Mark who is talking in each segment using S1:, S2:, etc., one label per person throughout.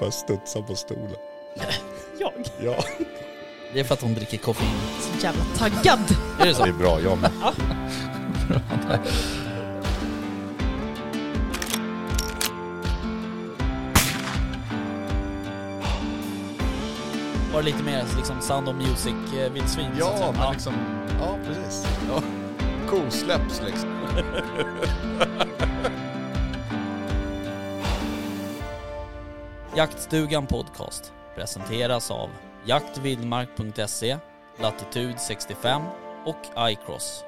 S1: Bara studsa på stolen.
S2: Jag?
S1: Ja.
S3: Det är för att hon dricker koffein.
S2: Så jävla taggad.
S3: Är det
S1: Det
S3: så?
S1: är bra, jag med.
S3: Var det lite mer liksom Sound of eh, Music-vildsvin?
S1: Ja, men liksom... Ja, precis. Ja. Kosläpps liksom.
S3: Jaktstugan Podcast presenteras av jaktvildmark.se, Latitud 65 och iCross.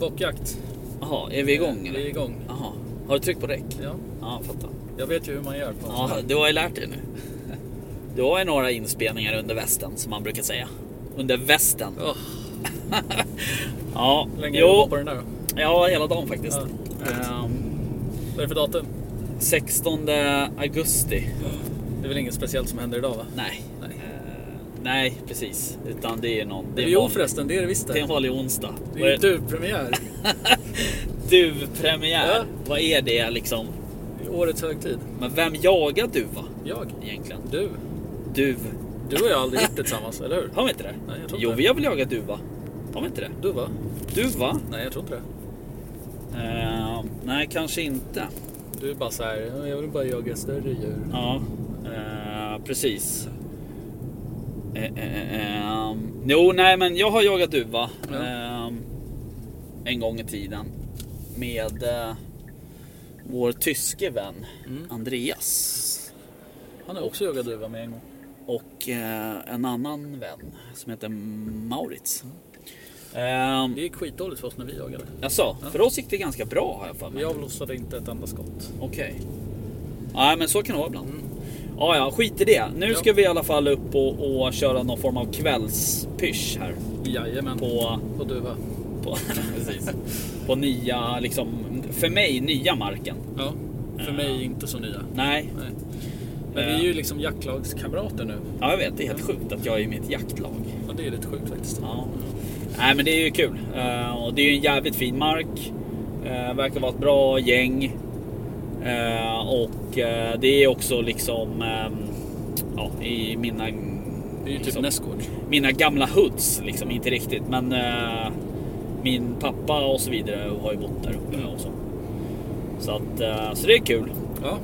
S4: Bockjakt.
S3: Jaha, är vi igång eller?
S4: Vi är igång.
S3: Jaha. Har du tryckt på räck?
S4: Ja.
S3: Ja, fattar.
S4: Jag vet ju hur man gör. På en sån
S3: Ja,
S4: här.
S3: du har ju lärt dig nu. Du har ju några inspelningar under västen som man brukar säga. Under västen.
S4: Åh.
S3: ja,
S4: Länge har du jobbat
S3: jo,
S4: på den där då?
S3: ja, hela dagen faktiskt.
S4: Ja,
S3: Ehm,
S4: Vad är det för datum?
S3: 16 augusti.
S4: Det är väl inget speciellt som händer idag va?
S3: Nej.
S4: Nej.
S3: Eh, nej, precis. Utan det är någon...
S4: Det är
S3: en
S4: jo
S3: vanlig-
S4: förresten, det är det visst
S3: Det är en
S4: det.
S3: vanlig onsdag.
S4: Det är ju typ- du-premiär.
S3: Duvpremiär.
S4: Ja.
S3: Vad är det liksom?
S4: Det är Årets högtid.
S3: Men vem jagar duva
S4: Jag.
S3: egentligen?
S4: Du.
S3: Duv.
S4: Du och jag har aldrig gjort det tillsammans, eller hur?
S3: Har vi inte det?
S4: Nej, jag tror
S3: jo,
S4: inte.
S3: vi har väl jagat duva? Har vi inte det?
S4: Du va?
S3: Duva?
S4: Nej, jag tror inte det.
S3: Eh, nej, kanske inte.
S4: Du är bara så här, "Ja, jag vill bara jaga större djur.
S3: Ja, eh, precis. Eh, eh, eh, ehm, jo, nej, men jag har jagat duva
S4: Ja.
S3: ehm, en gång i tiden med eh, vår tyske vän
S4: Mm.
S3: Andreas
S4: Han har också jagat duva med en gång.
S3: och eh, en annan vän som heter Maurits.
S4: Mm.
S3: Ehm,
S4: Det gick skitdåligt för oss när vi jagade.
S3: Jaså,
S4: Ja.
S3: för oss gick det ganska bra har jag för mig.
S4: Vi avlossade inte ett enda skott.
S3: Okej. Nej, men så kan det vara ibland. Ja, ja, skit i det. Nu
S4: Mm. Ja.
S3: ska vi i alla fall upp och, och köra någon form av kvällspysch här.
S4: Jajamän.
S3: På,
S4: På duva.
S3: på, precis, på nya, liksom, för mig, nya marken.
S4: Ja. För mig inte så nya.
S3: Nej,
S4: Nej. Men vi är ju liksom jaktlagskamrater nu.
S3: ja, jag vet. Det är helt sjukt att jag är i mitt jaktlag.
S4: Ja, det är lite sjukt faktiskt.
S3: Ja. Nej, men det är ju kul. Eh, och det är ju en jävligt fin mark. Eh, verkar vara ett bra gäng. Eh, och eh, det är också liksom ehm, ja, i mina...
S4: Det är ju typ
S3: liksom,
S4: nästgård.
S3: mina gamla hoods, liksom inte riktigt, men eh, min pappa och så vidare har ju bott där uppe och så. Så, att, eh, så det är kul.
S4: Ja.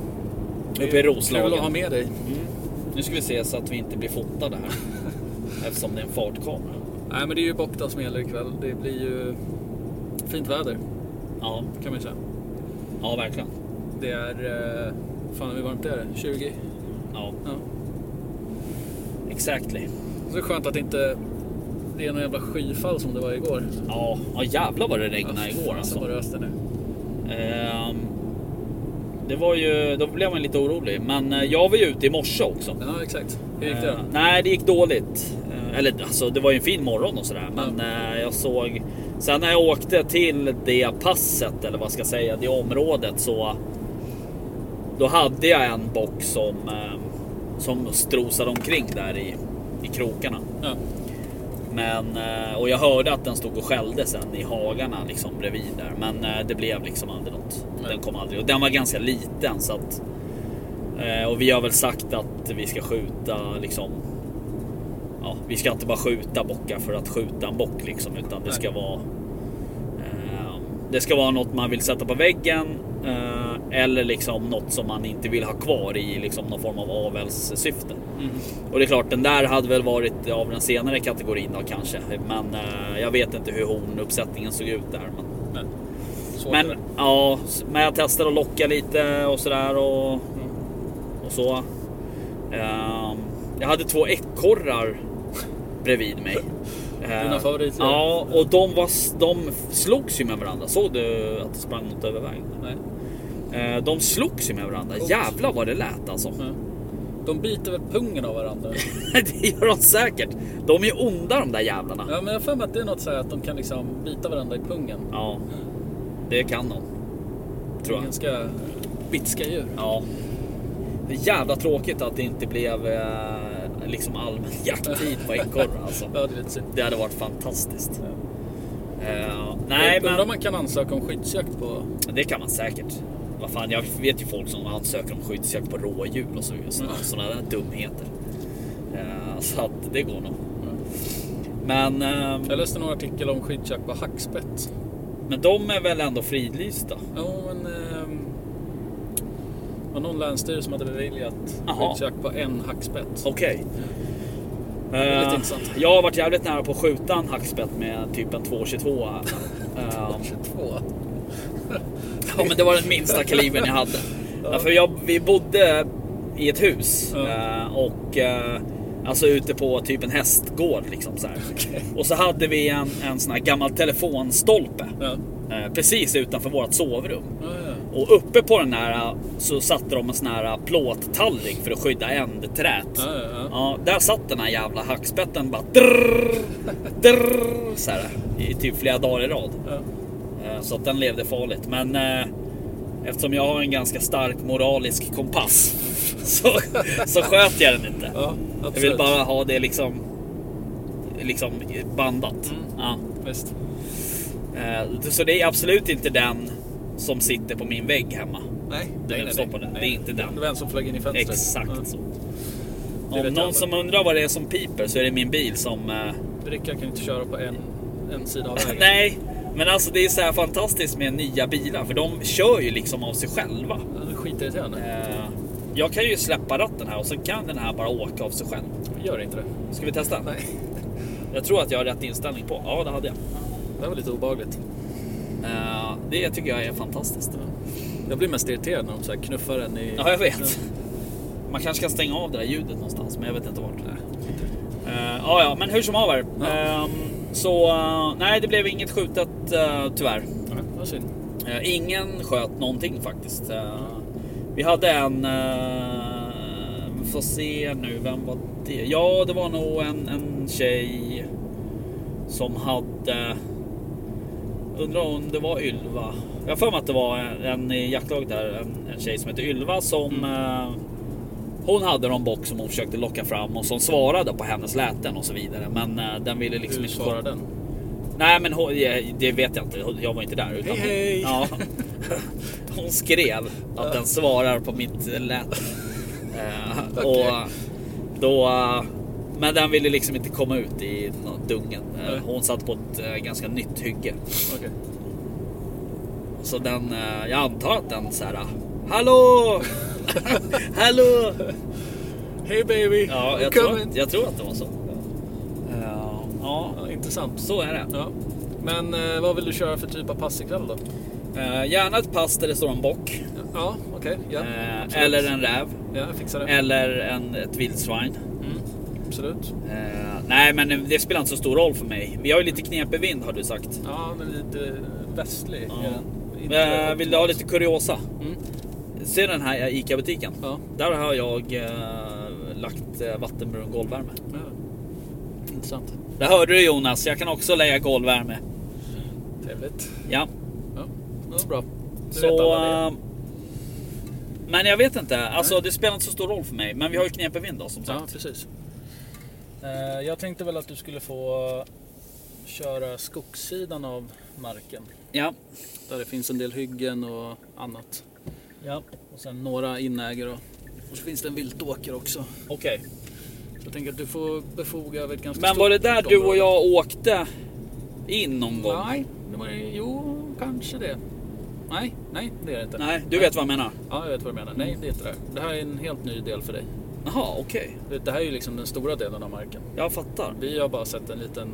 S3: Uppe i Roslagen.
S4: Kul att ha med dig.
S3: Nu ska vi se så att vi inte blir fotade här. Eftersom det är en fartkamera.
S4: Nej, men det är ju Bokta som gäller ikväll. Det blir ju fint väder
S3: Ja,
S4: kan man ju säga.
S3: ja verkligen.
S4: Det är... eh, Fan hur varmt det är? 20?
S3: Ja,
S4: Ja.
S3: exactly.
S4: Så det är skönt att det inte det är någon jävla skyfall som det var igår.
S3: Ja, ja jävlar vad det regnade igår
S4: Sen var
S3: alltså.
S4: det öster nu.
S3: Ehm, det var ju, då blev man lite orolig. Men eh, jag var ju ute i morse också.
S4: Ja, exakt. Hur gick det
S3: Eh,
S4: då?
S3: Nej, det gick dåligt. Eh, Eller alltså, det var ju en fin morgon och sådär. Men eh, jag såg... Sen när jag åkte till det passet, eller vad ska jag säga, det området så... Då hade jag en bock som, eh, som strosade omkring där i, i krokarna.
S4: Ja.
S3: Men, eh, och jag hörde att den stod och skällde sen i hagarna liksom bredvid där. Men eh, det blev liksom aldrig något.
S4: Nej.
S3: Den kom aldrig. Och den var ganska liten så att... eh, Och vi har väl sagt att vi ska skjuta liksom... Ja, vi ska inte bara skjuta bockar för att skjuta en bock liksom. Utan det
S4: Nej.
S3: ska vara... eh, Det ska vara något man vill sätta på väggen. eh, Eller liksom något som man inte vill ha kvar i liksom någon form av avelssyfte.
S4: Mhm.
S3: Och det är klart, den där hade väl varit av den senare kategorin då kanske. Men eh, jag vet inte hur honuppsättningen såg ut där. Men,
S4: Men, så är
S3: men
S4: det.
S3: ja, s- men jag testade att locka lite och sådär och, och så. Ehm, jag hade två ekorrar bredvid mig. Eh,
S4: Dina favoriter.
S3: Ja, och de, var, s- de slogs ju med varandra. Såg du att det sprang något över vägen?
S4: Nej.
S3: Eh, de slogs ju med varandra.
S4: Coolt.
S3: Jävlar vad det lät alltså.
S4: Ja. De biter väl pungen av varandra?
S3: det gör de säkert. De är onda de där jävlarna.
S4: ja, men jag har för mig att det är något så här att de kan liksom bita varandra i pungen.
S3: Ja, det kan de. Tror jag.
S4: Ganska bitska djur.
S3: Ja. Det är jävla tråkigt att det inte blev eh, liksom allmän jakttid på ekorre alltså.
S4: Ja, det är lite synd.
S3: Det hade varit fantastiskt. Eh, nej
S4: Nej, Undrar om
S3: men
S4: man kan ansöka om skyddsjakt på...
S3: det kan man säkert. Vad fan, jag vet ju folk som ansöker om skyddsjakt på rådjur och så, sådana,
S4: Mm.
S3: sådana där dumheter. Eh, så att det går nog.
S4: Mm.
S3: Men, ehm,
S4: Jag läste någon artikel om skyddsjakt på hackspett.
S3: men de är väl ändå fridlysta?
S4: Ja, men... ehm, Det var någon länsstyrelse som hade beviljat
S3: Jaha.
S4: skyddsjakt på en hackspett.
S3: Okej.
S4: är lite
S3: Eh,
S4: intressant.
S3: jag har varit jävligt nära på att skjuta en hackspett med typ en 222. Ehm,
S4: 22.
S3: Ja, men det var den minsta kalibern jag hade. Ja, för jag, vi bodde i ett hus
S4: Ja.
S3: eh, och eh, alltså ute på typ en hästgård liksom så här. Och så hade vi en, en sån här gammal telefonstolpe
S4: Ja.
S3: eh, precis utanför vårt sovrum.
S4: Ja, ja.
S3: Och uppe på den här eh, så satte de en sån här eh, plåttallrik för att skydda ändträt.
S4: Ja, ja, ja.
S3: Ja, där satt den här jävla hackspetten bara drrr, drrr, så här, i typ flera dagar i rad.
S4: Ja.
S3: Eh, Så att den levde farligt. Men eh, eftersom jag har en ganska stark moralisk kompass så, så sköt jag den inte.
S4: ja
S3: Jag
S4: absolut.
S3: vill bara ha det liksom, liksom bandat.
S4: Mm.
S3: Ja.
S4: Visst.
S3: Eh, Så det är absolut inte den som sitter på min vägg hemma.
S4: Nej,
S3: nej, nej. Stopp på den. Det är inte den.
S4: Det var en som flög in i fönstret.
S3: Exakt
S4: Ja.
S3: så.
S4: Det
S3: Om
S4: vet jag
S3: någon
S4: inte.
S3: som undrar vad det är som piper så är det min bil som eh,
S4: Rickard kan inte köra på en, en sida av vägen.
S3: Nej, men alltså det är så här fantastiskt med nya bilar för de kör ju liksom av sig själva.
S4: Ja, det är Skitirriterande.
S3: Eh, Jag kan ju släppa ratten här och så kan den här bara åka av sig själv.
S4: Gör inte det.
S3: Ska vi testa?
S4: Nej.
S3: Jag tror att jag har rätt inställning på. Ja, det hade jag.
S4: Det här var lite obehagligt.
S3: Eh, Det tycker jag är fantastiskt.
S4: Mm. Jag blir mest irriterad när de så här knuffar en i...
S3: Ja, jag vet.
S4: Mm.
S3: Man kanske kan stänga av det där ljudet någonstans, men jag vet inte vart det är. Eh, Ja, ja, men hur som haver.
S4: Ja.
S3: Ehm, Så eh, nej, det blev inget skjutet eh, tyvärr.
S4: Ja, vad synd.
S3: Eh, Ingen sköt någonting faktiskt. Eh, Vi hade en... eh, vi Får se nu, vem var det? Ja, det var nog en, en tjej som hade... Undrar om det var Ylva. Jag har för mig att det var en, en i jaktlaget där, en, en tjej som heter Ylva som... eh, hon hade någon bock som hon försökte locka fram och som svarade på hennes läten och så vidare. Men eh, den ville liksom
S4: Hur
S3: inte...
S4: svarar den?
S3: Nej men hon, eh, det vet jag inte, jag var inte där. Utan
S4: Hej, hej.
S3: Hon, ja, hon skrev att den svarar på mitt eh, läte. Eh,
S4: Okej.
S3: och då, eh, men den ville liksom inte komma ut i någon dungen. Eh,
S4: Nej.
S3: Hon satt på ett eh, ganska nytt hygge.
S4: Okej.
S3: Så den, eh, jag antar att den så här, Hallå! Hallå!
S4: Hey baby!
S3: Ja, jag,
S4: Kom
S3: tror,
S4: in.
S3: att- jag tror att det var så. Eh, Ja,
S4: Ja, intressant.
S3: så är det.
S4: Ja. Men eh, vad vill du köra för typ av pass ikväll då?
S3: Eh, Gärna ett pass där det står en bock.
S4: Ja, okej. Ja,
S3: Eh,
S4: absolut.
S3: eller en räv.
S4: Ja, jag fixar det.
S3: Eller en, ett vildsvin.
S4: Mm. Absolut.
S3: Eh, nej, men det spelar inte så stor roll för mig. Vi har ju lite knepig vind har du sagt.
S4: Ja, men lite eh, västlig.
S3: Ja.
S4: är den. Inte-
S3: Eh, vill du ha lite kuriosa?
S4: Mm.
S3: Se den här ICA-butiken.
S4: Ja.
S3: Där har jag eh, lagt eh, vattenburen golvvärme.
S4: ja. Intressant.
S3: Det hörde du Jonas, jag kan också lägga golvvärme.
S4: Trevligt.
S3: Ja,
S4: Ja, ja bra. Du vet
S3: så...
S4: alla det.
S3: eh, men jag vet inte, alltså det spelar inte så stor roll för mig. Men vi har ju knepig vind då som sagt.
S4: Ja, precis. Eh, Jag tänkte väl att du skulle få köra skogssidan av marken.
S3: Ja,
S4: Där det finns en del hyggen och annat.
S3: ja.
S4: Och sen några inägor och, och så finns det en viltåker också.
S3: okej.
S4: Så jag tänker att du får befoga över ett ganska
S3: Men var det där
S4: stort
S3: du och
S4: område.
S3: jag åkte in någon gång?
S4: Nej, det var, jo, kanske det. Nej, nej, det är det inte.
S3: Nej, du vet vad jag menar?
S4: Ja, jag vet vad du menar. Nej, det är inte det. Det här är en helt ny del för dig.
S3: Jaha, okej.
S4: Det- Det här är ju liksom den stora delen av marken.
S3: Jag fattar.
S4: Vi har bara sett en liten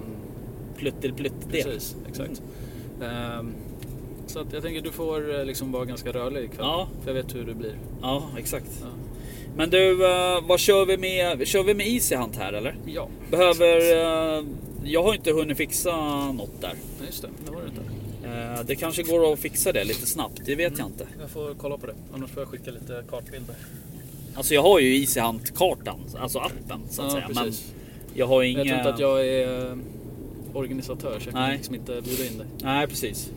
S3: Pluttelpluttdel.
S4: Precis, exakt. Ehm, så att jag tänker att du får eh, liksom vara ganska rörlig ikväll.
S3: Ja.
S4: För jag vet hur du blir.
S3: Ja, exakt.
S4: Ja.
S3: Men du, eh, vad kör vi med? Kör vi med is i hand här eller?
S4: Ja,
S3: Behöver... eh, Jag har inte hunnit fixa något där.
S4: nej, just det. Det var det inte.
S3: Eh, Det kanske går att fixa det lite snabbt, det
S4: Mm.
S3: vet jag inte.
S4: Jag får kolla på det. Annars får jag skicka lite kartbilder.
S3: Alltså jag har ju is i hand-kartan, alltså appen så att säga. Men
S4: precis.
S3: jag har
S4: Jag tror
S3: inga...
S4: inte att jag är eh, organisatör så jag kan
S3: Nej.
S4: liksom inte bjuda in dig.
S3: Nej, precis.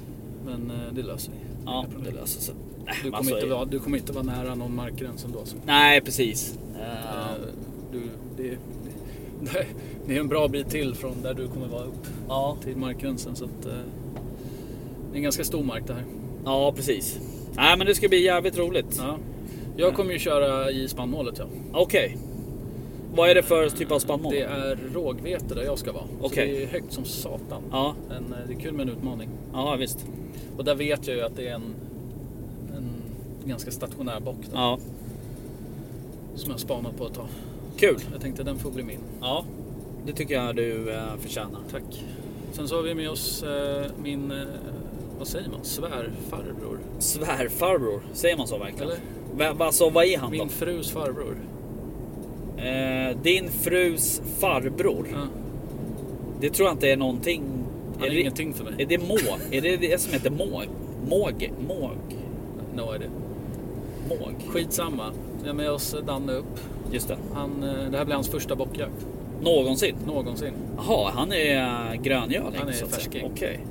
S4: Men eh, det löser vi.
S3: Ja,
S4: Inga problem.
S3: det löser sig. Nej,
S4: Du kommer,
S3: alltså,
S4: inte vara, du kommer inte vara nära någon markgräns ändå. Så.
S3: Nej, precis. Eh,
S4: Eh, Du, det, Nej, det är en bra bit till från där du kommer vara upp
S3: Ja,
S4: till markgränsen. Så att, eh, det är en ganska stor mark det här.
S3: ja precis. Nej men det ska bli jävligt roligt.
S4: Ja. Jag kommer ju köra i spannmålet. Ja.
S3: Okej. Vad är det för typ av spannmål?
S4: Det är rågvete där jag ska vara. Så
S3: Okej.
S4: Det är högt som satan.
S3: Ja,
S4: Men eh, det är kul med en utmaning.
S3: ja visst.
S4: Och där vet jag ju att det är en, en ganska stationär bock då,
S3: Ja,
S4: som jag har spanat på ett tag.
S3: kul.
S4: Jag tänkte den får bli min.
S3: Ja, det tycker jag du eh, förtjänar.
S4: Tack. Sen så har vi med oss eh, min, eh, vad säger man, svärfarbror.
S3: Svärfarbror, säger man så verkligen?
S4: Eller?
S3: Vem, alltså vad är han då?
S4: Min frus farbror.
S3: Eh, din frus farbror.
S4: Ja,
S3: Det tror jag inte är någonting.
S4: han
S3: Är
S4: är,
S3: det,
S4: ingenting för
S3: är
S4: mig.
S3: det må? Är det det som heter måg? Måg? Måg?
S4: No idea.
S3: Måg?
S4: Skitsamma. Vi har med oss Danne upp.
S3: Just det.
S4: Han, eh, det här blir hans första bockjakt
S3: Någonsin?
S4: någonsin.
S3: Jaha, han är eh, gröngöling?
S4: Han är
S3: så att säga.
S4: färsking.
S3: Okej.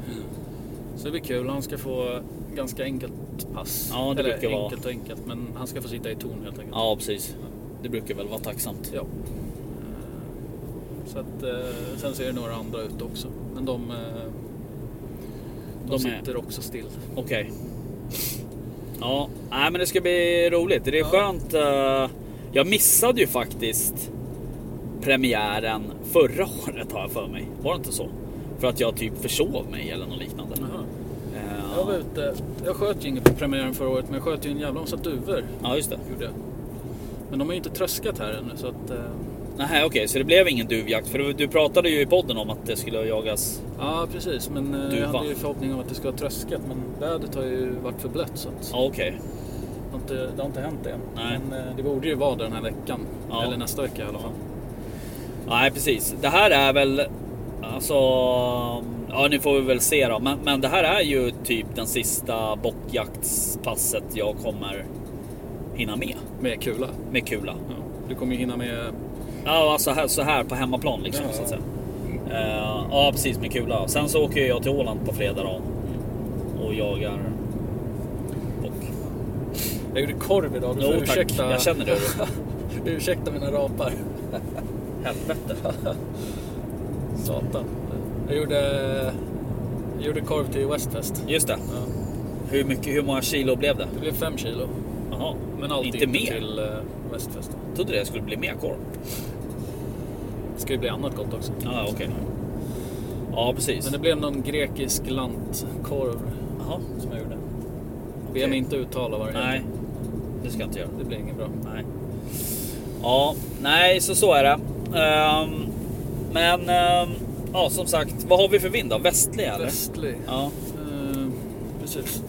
S4: Så det blir kul. Han ska få ganska enkelt pass.
S3: Ja, det
S4: Eller
S3: brukar vara.
S4: enkelt och enkelt, men han ska få sitta i torn helt enkelt.
S3: Ja, precis. Det brukar väl vara tacksamt.
S4: Ja. Så att, eh, sen ser det några andra ut också. Men de, eh, de,
S3: De är-
S4: sitter också still.
S3: Okej. Ja, nej men det ska bli roligt. Det är skönt. eh, jag missade ju faktiskt premiären förra året har jag för mig. Var det inte så? För att jag typ försov mig eller något liknande. Eh,
S4: Jag var ute. Jag sköt ju inget på premiären förra året, men jag sköt ju en jävla massa duvor.
S3: Ja, just det.
S4: Gjorde jag. Men de har ju inte tröskat här ännu, så att... Eh,
S3: Nej, okej, så det blev ingen duvjakt. För du- du pratade ju i podden om att det skulle jagas.
S4: ja, precis. Men eh, jag
S3: Duva.
S4: hade ju förhoppning om att det skulle ha tröskat, men vädret har ju varit för blött, så att
S3: Ja, okej.
S4: det, har inte, det har inte hänt än.
S3: Nej.
S4: Men eh, det borde ju vara det den här veckan.
S3: Ja.
S4: Eller nästa vecka i alla fall.
S3: Nej, precis. Det här är väl... Alltså... Ja, nu får vi väl se då. Men, men det här är ju typ den sista bockjaktspasset jag kommer hinna med.
S4: Med kula.
S3: Med kula.
S4: Ja. Du kommer ju hinna med...
S3: Ja, alltså här, så här på hemmaplan liksom.
S4: Ja.
S3: Så att säga. Eh, ja, precis med kula. Sen så åker jag till Åland på fredag då. Och jagar bock.
S4: Jag gjorde korv idag. Du
S3: Jo
S4: får
S3: tack,
S4: ursäkta.
S3: jag känner det.
S4: Ursäkta mina rapar.
S3: Helvete.
S4: Satan. Jag gjorde, jag gjorde korv till Westfest.
S3: Just det.
S4: Ja.
S3: Hur, mycket, hur många kilo blev det?
S4: Det blev fem kilo.
S3: Jaha,
S4: Men allt
S3: inte mer.
S4: till eh, Westfest. då.
S3: Jag trodde det skulle bli mer korv.
S4: Det ska ju bli annat gott också.
S3: Ja, okej. Ja, precis.
S4: Men det blev någon grekisk lantkorv
S3: Jaha.
S4: som jag gjorde. Be
S3: Okej.
S4: mig inte uttala vad det
S3: Nej,
S4: heter.
S3: det ska jag inte göra.
S4: Det blir inget bra.
S3: Nej. Ja, nej, så så är det. Ehm, men ehm, ja, som sagt, vad har vi för vind då? Västlig eller?
S4: Västlig.
S3: Ja.
S4: Eh, precis.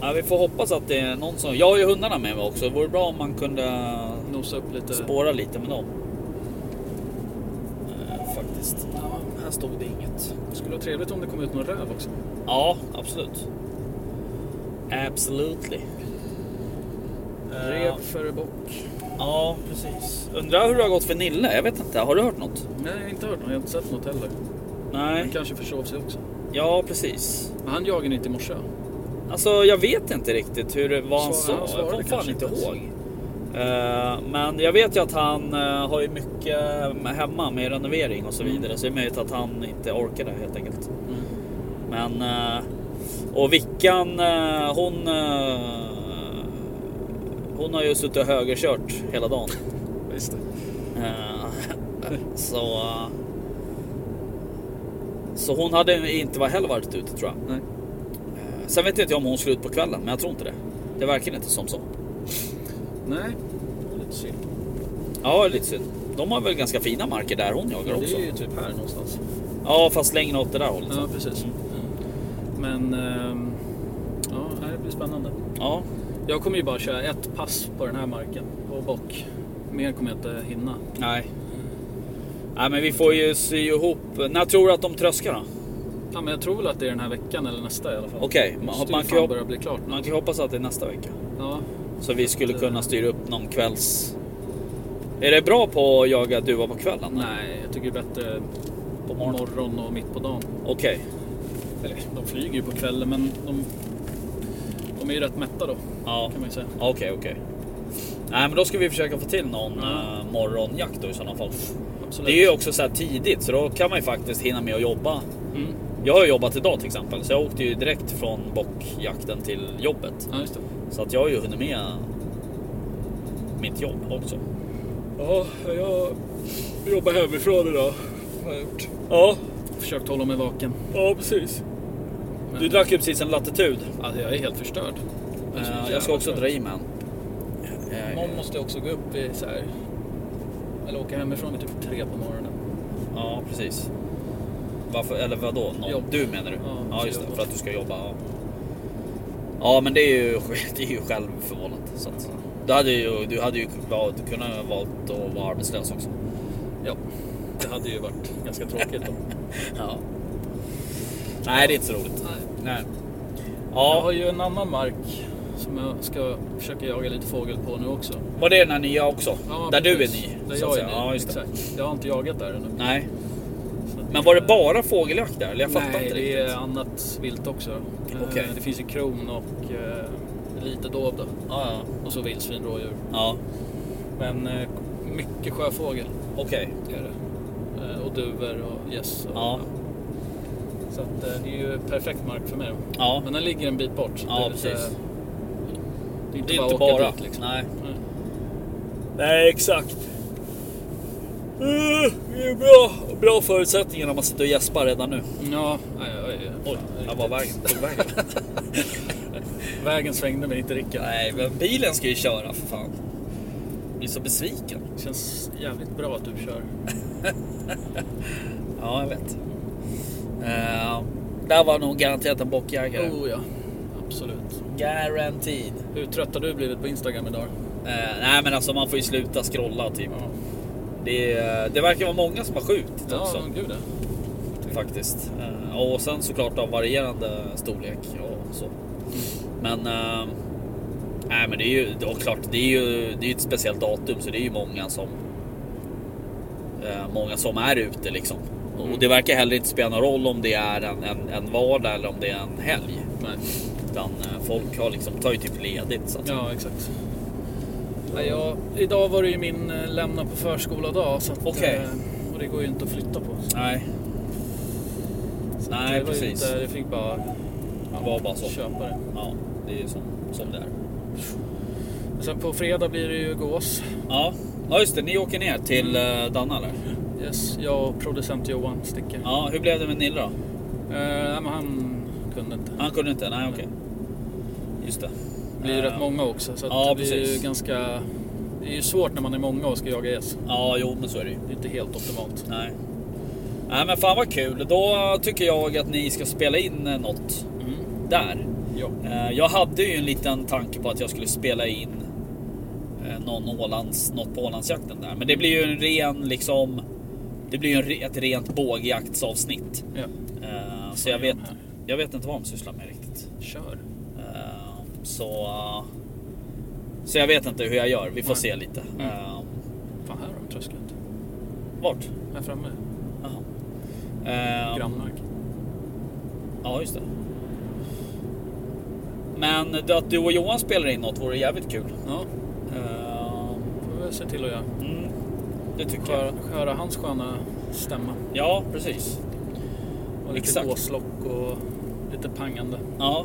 S3: ja, vi får hoppas att det är någon som... Jag har ju hundarna med mig också. Det vore bra om man kunde
S4: Nosa upp lite.
S3: spåra lite med dem. Eh, Faktiskt. Ja, här stod det inget.
S4: Det skulle vara trevligt om det kom ut någon räv också.
S3: Ja, absolut. Absolutely. Eh,
S4: Rev före bock.
S3: Ja, precis. Undrar hur det har gått för Nille? Jag vet inte. Har du hört något?
S4: Nej, jag har inte hört något. Jag har inte sett något heller. Han
S3: Nej.
S4: kanske försov sig också.
S3: Ja, precis.
S4: Men han jagade inte i morse.
S3: Alltså, jag vet inte riktigt hur det var han
S4: Svarade- han
S3: sa. Jag
S4: svarade
S3: kommer fan
S4: kanske
S3: inte
S4: inte ens.
S3: ihåg. Eh, men jag vet ju att han eh, har ju mycket eh, hemma med renovering och så
S4: Mm.
S3: vidare. Så det är möjligt att han inte orkade helt enkelt. Men... eh, och Vickan, eh, hon... eh, hon har ju suttit och högerkört hela dagen.
S4: Visst.
S3: Eh, så... Så hon hade inte var heller varit ute tror jag.
S4: Nej.
S3: Eh, Sen vet jag inte om hon skulle ut på kvällen, men jag tror inte det. Det verkar inte som så.
S4: Nej. Lite synd.
S3: Ja, det är lite synd. De har väl ganska fina marker där hon jagar
S4: Det
S3: också.
S4: är ju typ här någonstans.
S3: Ja, fast längre åt det där hållet.
S4: Ja, precis. Men... ehm, ja, nej, det blir spännande.
S3: Ja,
S4: Jag kommer ju bara köra ett pass på den här marken. På bock. Mer kommer jag inte hinna.
S3: nej. Nej, men vi får ju sy ihop. När tror du att de tröskar då?
S4: Ja, men jag tror väl att det är den här veckan eller nästa i alla fall.
S3: Okej, man,
S4: Måste
S3: man,
S4: man
S3: kan ju
S4: fan
S3: hop-
S4: börja bli klart.
S3: man kan ju hoppas att det är nästa vecka.
S4: Ja.
S3: Så vi skulle
S4: Eh.
S3: kunna styra upp någon kvälls... Är det bra på att jaga duva på kvällen?
S4: Nej, jag tycker det är bättre på morgon och mitt på dagen.
S3: Okej.
S4: Eller, de flyger ju på kvällen, men de, de är ju rätt mätta då.
S3: Ja.
S4: Kan man ju säga.
S3: Okej, okej. Nej, men då ska vi försöka få till någon eh, morgonjakt då i sådana fall.
S4: Absolut.
S3: Det är ju också så här tidigt så då kan man ju faktiskt hinna med att jobba.
S4: Mm.
S3: Jag har ju jobbat idag till exempel så jag åkte ju direkt från bockjakten till jobbet.
S4: Ja, just det.
S3: Så att jag har ju hunnit med mitt jobb också.
S4: Ja, jag jobbar hemifrån idag. Har jag gjort.
S3: Ja,
S4: Försökt hålla mig vaken.
S3: ja precis. Du
S4: Men-
S3: drack ju precis en latitud.
S4: Alltså, jag är helt förstörd. Det är så
S3: Eh,
S4: jävla
S3: Jag ska också
S4: trött.
S3: dra i mig en. Eh,
S4: Imorgon måste jag också gå upp vid så här... Eller åka hemifrån vid typ tre på morgonen.
S3: Ja, precis. Varför, eller vadå? Någon,
S4: Jobb.
S3: Du menar du?
S4: Ja,
S3: Ja,
S4: så
S3: just det.
S4: jobb.
S3: För att du ska jobba. Ja, ja men det är ju, det är ju självförvållat. Så att, du hade ju, du hade ju valt, kunnat valt att vara arbetslös också.
S4: Ja. Det hade ju varit ganska tråkigt då.
S3: Ja. Nej, det är inte så roligt. Nej.
S4: Jag har
S3: Ja,
S4: ju en annan mark som jag ska försöka jaga lite fågel på nu också.
S3: var det den här nya också?
S4: Ja,
S3: där du är
S4: precis.
S3: ny?
S4: Där
S3: så att
S4: jag är
S3: säga.
S4: ny.
S3: Ja, just det.
S4: Exakt. Jag har inte jagat där ännu.
S3: Nej.
S4: Så att-
S3: Men var det bara fågeljakt där? Eller jag fattar
S4: Nej,
S3: inte
S4: det
S3: riktigt.
S4: är annat vilt också. Eh,
S3: Okej.
S4: Det finns ju kron och eh, lite dov då.
S3: Ja, ja.
S4: Och så vildsvin, rådjur.
S3: ja.
S4: Men eh, mycket sjöfågel
S3: okej.
S4: det är det. Eh, Och duvor och gäss. och-
S3: Ja.
S4: Så att, eh, det är ju perfekt mark för mig. då.
S3: Ja.
S4: Men den ligger en bit bort. så
S3: Ja,
S4: det är lite-
S3: precis.
S4: Det är inte
S3: Det är
S4: bara
S3: inte
S4: att
S3: bara...
S4: åka dit liksom.
S3: Nej.
S4: Nej.
S3: Nej, exakt. Eh, Det är bra, bra förutsättningar när man sitter och gäspar redan nu.
S4: liksom. Ja, aj, aj, aj.
S3: Oj, jag var vägen. tog vägen.
S4: Vägen svängde mig inte riktigt.
S3: Nej, men bilen ska ju köra för fan. Jag blir så besviken.
S4: Det känns jävligt bra att du kör.
S3: Ja, jag vet. Eh, där var nog garanterat en bockjägare.
S4: Oh ja, absolut.
S3: Guaranteed.
S4: Hur trött har du blivit på Instagram idag?
S3: Eh, nej, men alltså man får ju sluta scrolla typ.
S4: Ja,
S3: Det, är- det verkar vara många som har skjutit också.
S4: ja men gud ja.
S3: faktiskt. Eh, Och sen såklart av varierande storlek och så. Men... eh, Nej men det är ju och klart, det är ju det är ju ett speciellt datum så det är ju många som... eh, Många som är ute liksom. Och det verkar heller inte spela någon roll om det är en, en, en vardag eller om det är en helg.
S4: Nej.
S3: Utan eh, folk har liksom, tar ju typ ledigt. Så att,
S4: Ja, exakt. Ja, jag, idag var det ju min eh, lämna på förskola-dag. så att,
S3: Okej.
S4: eh, Och det går ju inte att flytta på.
S3: Nej.
S4: det
S3: Nej
S4: var ju
S3: precis.
S4: Inte, det fick bara
S3: Det var bara så.
S4: köpa det.
S3: Ja, det är ju som, som det är.
S4: Sen på fredag blir det ju gås.
S3: Ja. ja just det, ni åker ner till eh, Danna eller?
S4: Yes, jag och producent Johan sticker.
S3: Ja, hur blev det med Nilla då?
S4: Eh, nej, men han kunde inte.
S3: Han kunde inte? Nej, okej. Just det.
S4: Det blir ju
S3: Eh,
S4: rätt många också. Så att
S3: ja,
S4: det blir
S3: precis.
S4: ju ganska... Det är ju svårt när man är många och ska jaga gäss.
S3: Ja, jo, men så är det ju.
S4: Det är inte helt optimalt.
S3: Nej. Nej, men fan vad kul. Då tycker jag att ni ska spela in eh, något där.
S4: Ja.
S3: Eh, Jag hade ju en liten tanke på att jag skulle spela in eh, någon Ålands, något på Ålandsjakten där. Men det blir ju en ren liksom... Det blir ju en re- ett rent bågjaktsavsnitt.
S4: ja.
S3: Eh, Så jag vet, jag vet inte vad de sysslar med riktigt.
S4: Kör.
S3: Eh, Så, eh, så jag vet inte hur jag gör. Vi får
S4: Nej.
S3: se lite.
S4: Mm.
S3: Eh,
S4: Fan, här har de tröskat.
S3: Vart?
S4: Här framme.
S3: Jaha. Eh,
S4: Grannmark.
S3: Ja, just det. Men det att du och Johan spelar in något vore jävligt kul.
S4: Ja,
S3: Eh,
S4: får vi se till att göra.
S3: Mm, det tycker jag.
S4: Höra, höra hans sköna stämma.
S3: Ja, precis.
S4: Och lite
S3: Exakt.
S4: gåslock och lite pangande.
S3: Ja,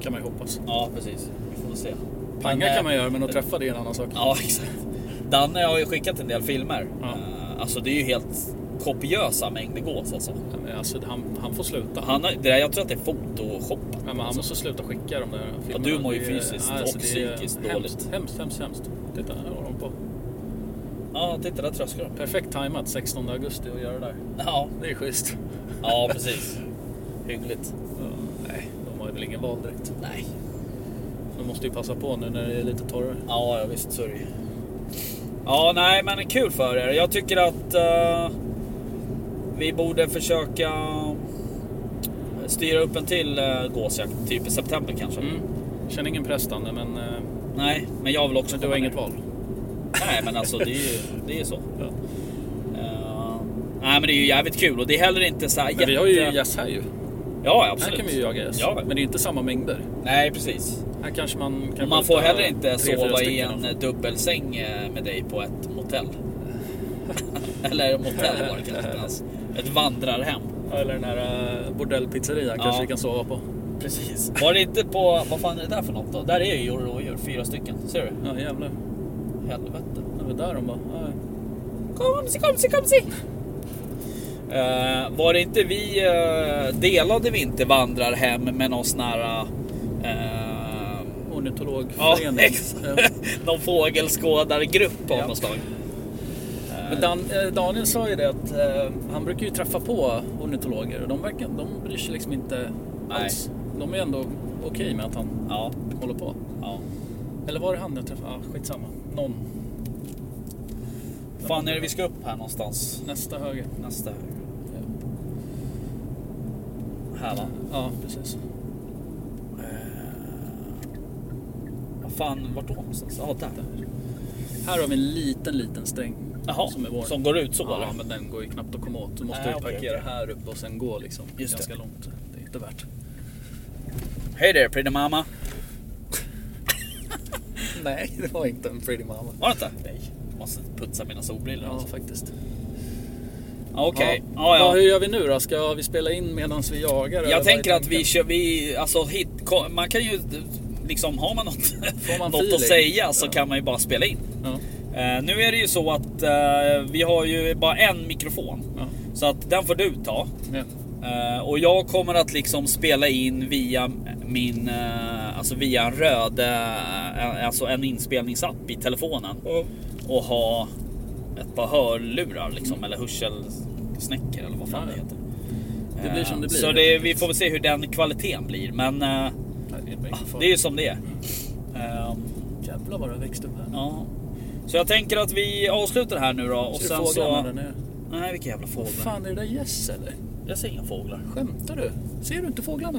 S4: Kan man ju hoppas.
S3: ja precis. Vi får väl se.
S4: Panga
S3: Men,
S4: kan man
S3: eh,
S4: göra, men att träffa det är en annan sak.
S3: Ja, exakt. Danne har ju skickat en del filmer.
S4: Ja.
S3: Eh, Alltså det är ju helt kopiösa mängder gås alltså.
S4: Men Alltså, han, han får sluta.
S3: Han har, det där, jag tror att det är photoshoppat.
S4: Ja, men han måste sluta skicka de där filmerna.
S3: du mår ju
S4: Det är-
S3: fysiskt
S4: nej,
S3: och
S4: det är
S3: psykiskt
S4: hemskt,
S3: dåligt.
S4: Hemskt, hemskt, hemskt. Titta, här håller de på.
S3: Ja, titta där tröskar de.
S4: Perfekt tajmat 16 augusti att göra det där.
S3: Ja,
S4: Det är schysst.
S3: ja precis. Hyggligt.
S4: nej, de har väl ingen val direkt.
S3: Nej.
S4: De måste ju passa på nu när det är lite torrare.
S3: Ja, ja visst så är det ju. Ja, nej, men kul för er. Jag tycker att eh, vi borde försöka styra upp en till uh, gåsjakt, typ i september kanske.
S4: Mm. Känner ingen press Danne, men, eh,
S3: Nej, men jag vill också
S4: men du har
S3: komma
S4: inget
S3: ner.
S4: val.
S3: Nej, men alltså det är ju det är så.
S4: Ja.
S3: Eh, nej, men det är ju jävligt kul och det är heller inte så här
S4: Men vi har ju gäss här ju.
S3: Ja,
S4: Här
S3: absolut.
S4: kan vi ju jaga gäss.
S3: Ja.
S4: Men det är inte samma mängder.
S3: Nej, precis.
S4: Här kanske man kan
S3: Och man
S4: skjuta
S3: får heller inte
S4: tre, fyra
S3: sova i
S4: stycken
S3: en
S4: också.
S3: dubbelsäng eh, med dig på ett motell. Eller motell var det kanske inte ens. Ett vandrarhem.
S4: Eller den här eh, bordellpizzerian kanske
S3: Ja.
S4: vi kan sova på.
S3: Precis. Var det inte på... Vad fan är det där för något då? Där är ju rådjur. Fyra stycken. Ser du?
S4: Ja jävlar.
S3: Helvete.
S4: Det var där de bara. Ja, ja.
S3: Kom si, kom si, kom si. Eh, var det inte vi... eh, delade vi inte vandrarhem med någon sån här... eh, ja,
S4: Ornitologförening.
S3: exakt.
S4: Ja.
S3: Någon fågelskådargrupp av
S4: Ja.
S3: något slag.
S4: Men Dan, eh, Daniel sa ju det att eh, han brukar ju träffa på ornitologer och de, verkar, de bryr sig liksom inte
S3: Nej.
S4: alls. De är ändå okej med att han
S3: Ja.
S4: håller på.
S3: ja.
S4: Eller var det han jag träffade? Ah, skitsamma. Någon.
S3: fan är det vi ska upp här någonstans?
S4: Nästa höger.
S3: Nästa. Här va?
S4: Ja, precis.
S3: Eh, Vad fan, vart då någonstans? Ja, där.
S4: Här har vi en liten, liten sträng
S3: Jaha,
S4: som är vår.
S3: som går ut så
S4: ja,
S3: eller?
S4: men den går ju knappt att komma åt. Så måste
S3: Nej,
S4: vi
S3: okej,
S4: parkera
S3: okej.
S4: här uppe och sen gå liksom
S3: Just det.
S4: ganska långt. Det är inte värt.
S3: Hej där pretty mama.
S4: Nej, det var inte en pretty mama.
S3: Var det inte? Nej. Måste putsa mina solbrillor
S4: Ja,
S3: alltså.
S4: faktiskt.
S3: Ja, Okej.
S4: Ja.
S3: Ja,
S4: Hur
S3: ja.
S4: gör vi nu då? Ska vi spela in medan vi jagar? eller vad
S3: Jag
S4: är
S3: tänker att
S4: tanken?
S3: vi kör, vi, alltså hit, ko- man kan ju liksom, har man något,
S4: man
S3: något
S4: feeling?
S3: att säga så
S4: Ja.
S3: kan man ju bara spela in.
S4: Ja.
S3: Eh, nu är det ju så att eh, vi har ju bara en mikrofon.
S4: Ja.
S3: Så att den får du ta.
S4: Ja.
S3: Eh, och jag kommer att liksom spela in via min, eh, alltså via en röd, eh, alltså en inspelningsapp i telefonen. Och ha ett par hörlurar liksom, eller hörselsnäckor eller vad fan
S4: Ja,
S3: det
S4: ja.
S3: heter.
S4: Det blir
S3: Eh,
S4: som det blir,
S3: Så
S4: helt
S3: det,
S4: enkelt.
S3: vi får väl se hur den kvaliteten blir. Men eh,
S4: Nej, det är bara ingen fara.
S3: det är ju som det är. Eh,
S4: Jävlar vad det har växt upp här.
S3: ja. Så jag tänker att vi avslutar här nu då. Och
S4: Ser
S3: sen
S4: du fåglarna
S3: så...
S4: där nere?
S3: Nej, vilka jävla fåglar.
S4: Fan, är det där gäss eller?
S3: Jag ser inga fåglar.
S4: Skämtar du? Ser du inte fåglarna?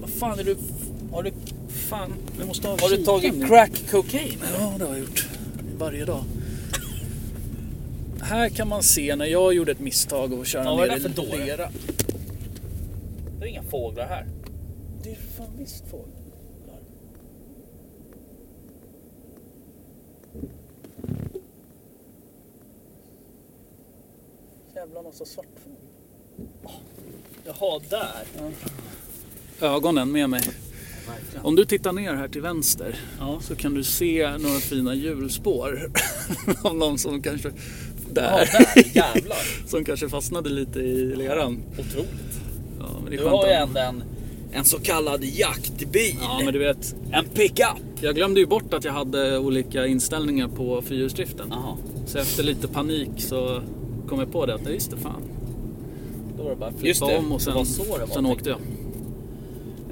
S3: Vad fan är du... Har du,
S4: Fan, vi måste ha
S3: har du
S4: kikaren
S3: tagit
S4: nu.
S3: crack cocaine?
S4: Ja, det har jag gjort. Varje dag. Här kan man se när jag gjorde ett misstag och köra
S3: Ja, vad är
S4: ner
S3: det där för
S4: i lera.
S3: Det är inga fåglar här.
S4: Det är fan visst fåglar. Jävlar massa svartfågel.
S3: Jaha, där.
S4: Ögonen med mig. Om du tittar ner här till vänster
S3: Ja.
S4: så kan du se några fina hjulspår av någon som kanske...
S3: Ja,
S4: Där.
S3: där. Jävlar.
S4: som kanske fastnade lite i leran.
S3: Otroligt.
S4: Ja, men det är
S3: Du har ju
S4: skönt.
S3: ändå en, en så kallad jaktbil.
S4: Ja, men du vet.
S3: En pickup.
S4: Jag glömde ju bort att jag hade olika inställningar på fyrhjulsdriften.
S3: Jaha.
S4: Så efter lite panik så kom jag på det att nej, just det fan. Då var det bara att
S3: Just
S4: flippa
S3: det,
S4: om och
S3: det
S4: sen,
S3: var så det var,
S4: sen åkte jag.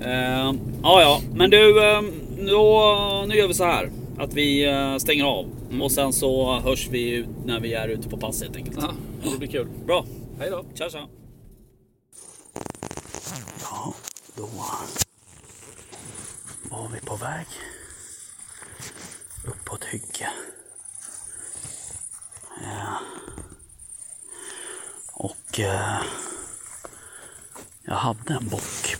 S3: Ehm, ja, ja. Men du, ehm, då, nu gör vi så här. Att vi eh, stänger av.
S4: Mm.
S3: Och sen så hörs vi ut när vi är ute på pass helt enkelt.
S4: Ja, det blir kul.
S3: Bra.
S4: Hej då.
S3: Tja, tja.
S4: Då var vi på väg upp på ett hygge. Eh, Och eh, jag hade en bock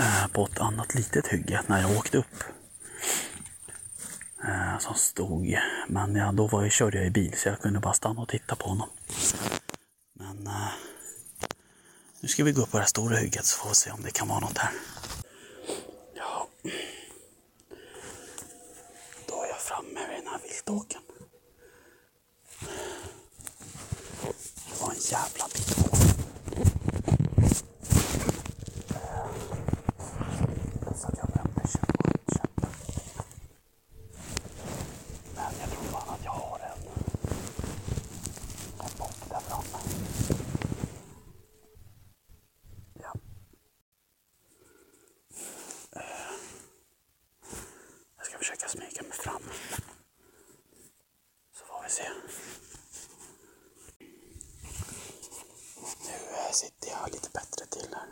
S4: eh, på ett annat litet hygge när jag åkte upp. Eh, Som stod, men jag, då var jag, körde jag i bil så jag kunde bara stanna och titta på honom. Men eh, nu ska vi gå upp på det här stora hygget så får vi se om det kan vara något här. Ja. Då är jag framme vid den här viltåkern. Det var en jävla bit kvar. Så att jag glömde köpa köpa. Men jag tror fan att jag har en, en bock där framme. Ja. Eh, Jag ska försöka smyga mig fram. Så får vi se. Nu eh, sitter jag lite bättre till här.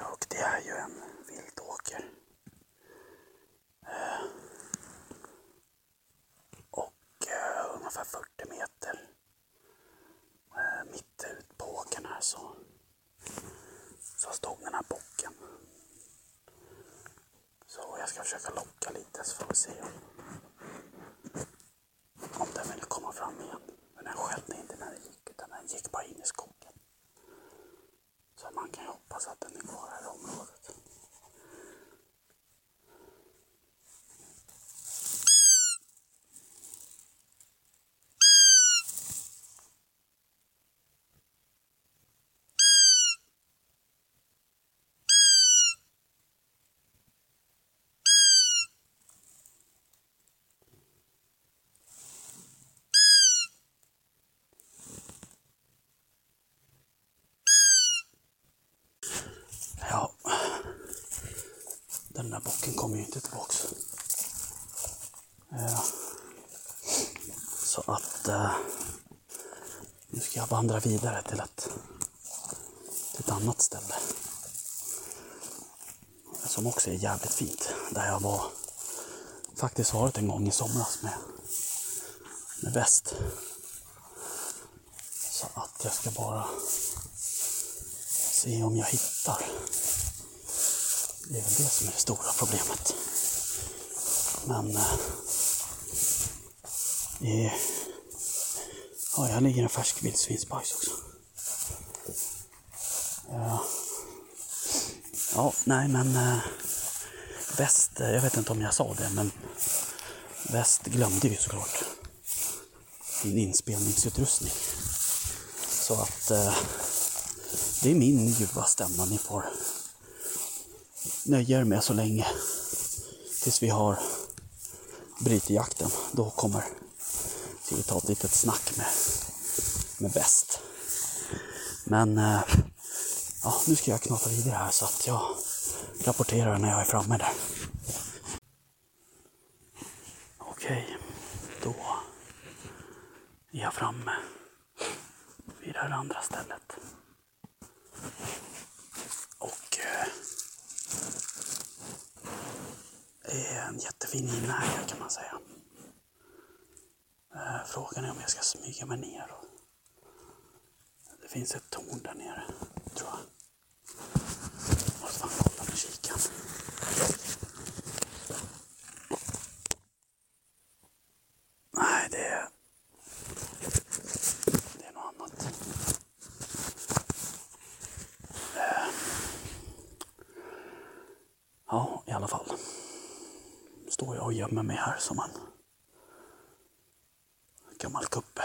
S4: Ja, Och det är ju en viltåker. Eh, Och eh, ungefär 40 meter eh, mitt ut på åkern här så så stod den här bocken.
S3: där bocken kommer ju inte tillbaks. Eh, Så att eh, nu ska jag vandra vidare till ett, till ett annat ställe. Som också är jävligt fint. Där jag var faktiskt varit en gång i somras med, med väst. Så att jag ska bara se om jag hittar. Det är väl det som är det stora problemet. Men... Eh, det- ja, här ligger en färsk vildsvinsbajs också. Ja. ja, nej men... Eh, väst, eh, jag vet inte om jag sa det, men väst glömde ju såklart sin inspelningsutrustning. Så att eh, det är min ljuva stämma ni får nöja er med så länge. Tills vi har brutit jakten. Då kommer ska vi ta ett litet snack med, med väst. Men eh, ja, nu ska jag knata vidare här så att jag rapporterar när jag är framme där. Okej, då är jag framme vid det här andra stället. Och eh, det är Eh, en jättefin inäga kan man säga. Eh, Frågan är om jag ska smyga mig ner. och- Det finns ett torn där nere, tror jag. Måste fan kolla med kikaren. Nej, det är... Det är något annat. Eh. Ja, i alla fall. Står jag och gömmer mig här som en gammal kuppe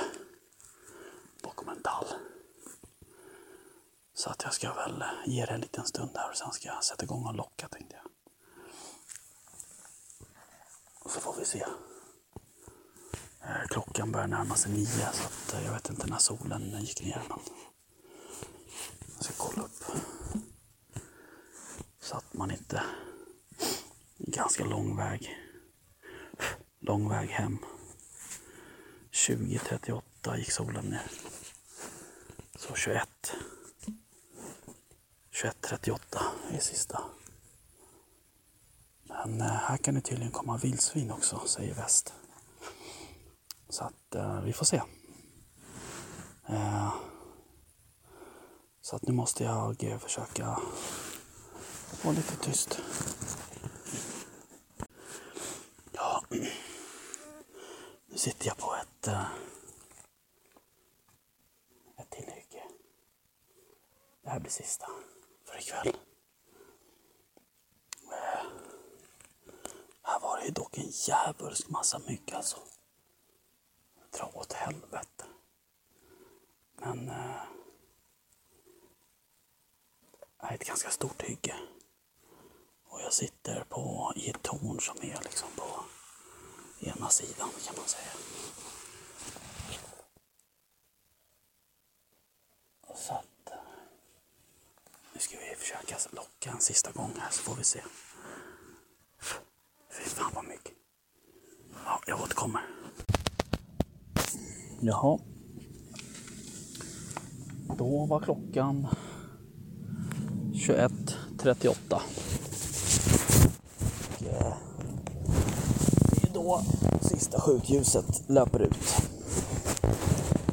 S3: bakom en tall. Så att jag ska väl ge det en liten stund där och sen ska jag sätta igång och locka tänkte jag. Och så får vi se. Eh, Klockan börjar närma sig nio så att eh, jag vet inte när solen gick ner. Men jag ska kolla upp. Så att man inte... Ganska lång väg. Lång väg hem. 20.38 gick solen ner. Så 21. 21.38 är sista. Men eh, här kan det tydligen komma vildsvin också, säger väst. Så att eh, vi får se. Eh, så att nu måste jag eh, försöka vara lite tyst. Ja, nu sitter jag på ett, eh, ett tillhygge. Det här blir sista för ikväll. Eh, Här var det ju dock en djävulsk massa mygg alltså. Dra åt helvete. Men... eh, Det här är ett ganska stort hygge. Och jag sitter på, i ett torn som är liksom på ena sidan kan man säga. Och Så att, eh, nu ska vi försöka locka en sista gång här så får vi se. Fy fan vad mycket. Ja, jag återkommer. Jaha. Då var klockan 21.38. Och, eh, det är då sista sjukljuset löper ut.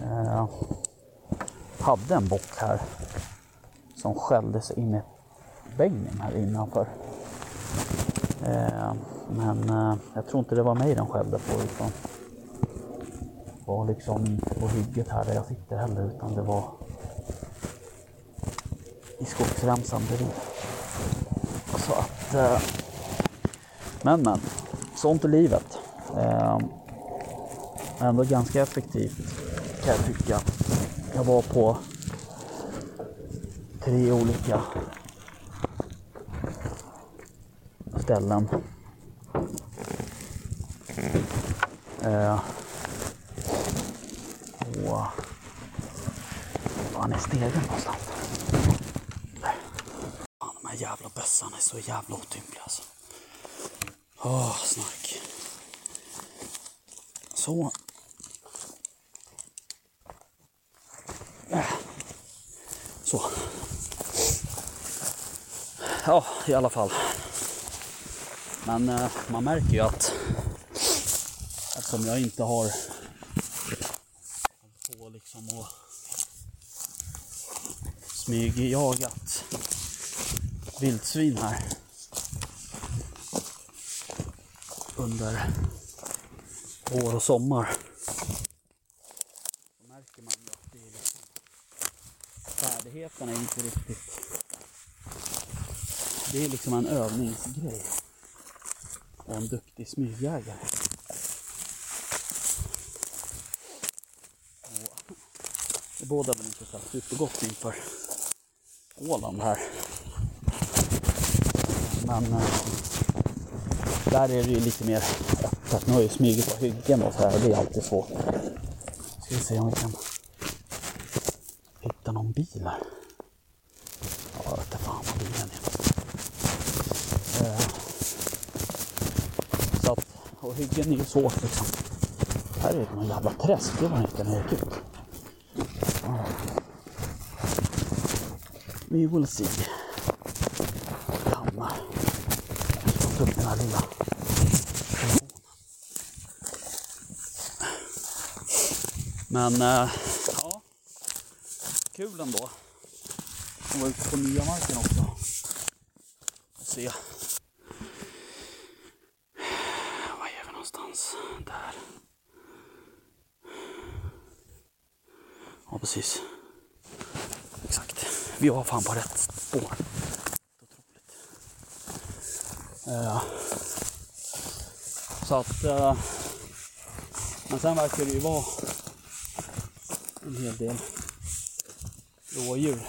S3: Eh, hade en bock här som skällde sig in i väggen här innanför. Eh, men eh, jag tror inte det var mig den skällde på utan det var liksom inte på hygget här där jag sitter heller utan det var i skogsremsan bredvid. Så att eh, men men, sånt är livet. Eh, ändå ganska effektivt kan jag tycka. Jag var på tre olika ställen. Eh, och... Fan är stegen någonstans? Där. Fan, de här jävla bössan är så jävla otympliga alltså.
S5: Åh, snark. Så. Äh. Så. Ja, i alla fall. Men eh, man märker ju att eftersom jag inte har hållit på liksom och smygjagat vildsvin här under vår och sommar. Då märker man ju att det är liksom, färdigheterna är inte riktigt... Det är liksom en övningsgrej. Och en duktig smygjägare. Och Det bådar väl inte så här supergott inför Åland här. Men eh, där är det ju lite mer öppet. Nu har ju smugit på hyggen och så här. och Det är alltid svårt. Ska vi se om vi kan hitta någon bil här. Jag vete fan vad bilen är. Eh, Så att, och hyggen är ju svårt liksom. Här är det någon jävla träsk. Det var det inte när jag gick ut. Ja. We will see. Hammar ta upp den här lilla telefonen. Men eh, ja, kul ändå. Att vara ute på nya marken också. Och se. Var är vi någonstans? Där. Ja, precis. Exakt. Vi var fan på rätt spår. Eh, Så att... eh, Men sen verkar det ju vara en hel del rådjur.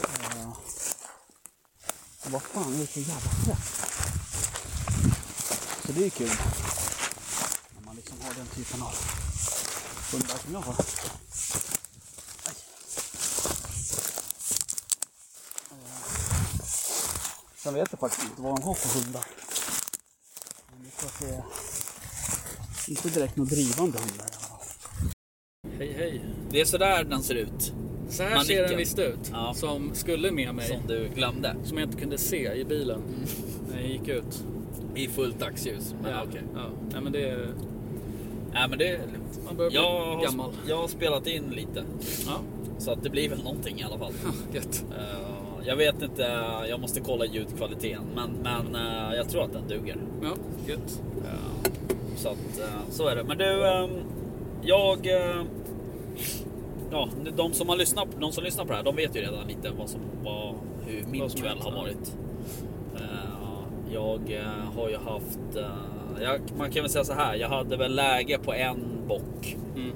S5: Eh, Vad fan är det för jävla träff? Så det är kul. När man liksom har den typen av hundar som jag har. Eh. Sen vet jag faktiskt inte vad de har för hundar. Men det tror att det är inte direkt några drivande hundar i alla fall.
S4: Hej hej.
S3: Det är sådär den ser ut.
S4: Så här
S3: Manicken.
S4: ser den visst ut.
S3: Ja.
S4: Som skulle med mig.
S3: Som du glömde. Mm.
S4: Som jag inte kunde se i bilen när jag gick ut.
S3: I fullt dagsljus. Men
S4: ja.
S3: okej.
S4: Ja. Nej men det är...
S3: Nej men det är lugnt.
S4: Man börjar bli
S3: Jag har,
S4: gammal.
S3: jag har spelat in lite.
S4: Ja.
S3: Så att det blir väl någonting i alla fall.
S4: Gött.
S3: Eh, jag vet inte, jag måste kolla ljudkvaliteten. Men, men eh, jag tror att den duger.
S4: Ja, gött.
S3: Eh, så att, eh, så är det. Men du, ehm, jag... eh, ja, de som har lyssnat, de som lyssnar på det här, de vet ju redan lite vad som, vad, hur min
S4: Vad som
S3: kväll
S4: hänt,
S3: har
S4: ja.
S3: varit. Eh, jag eh, har ju haft... eh, jag, man kan väl säga så här, jag hade väl läge på en bock.
S4: Mm.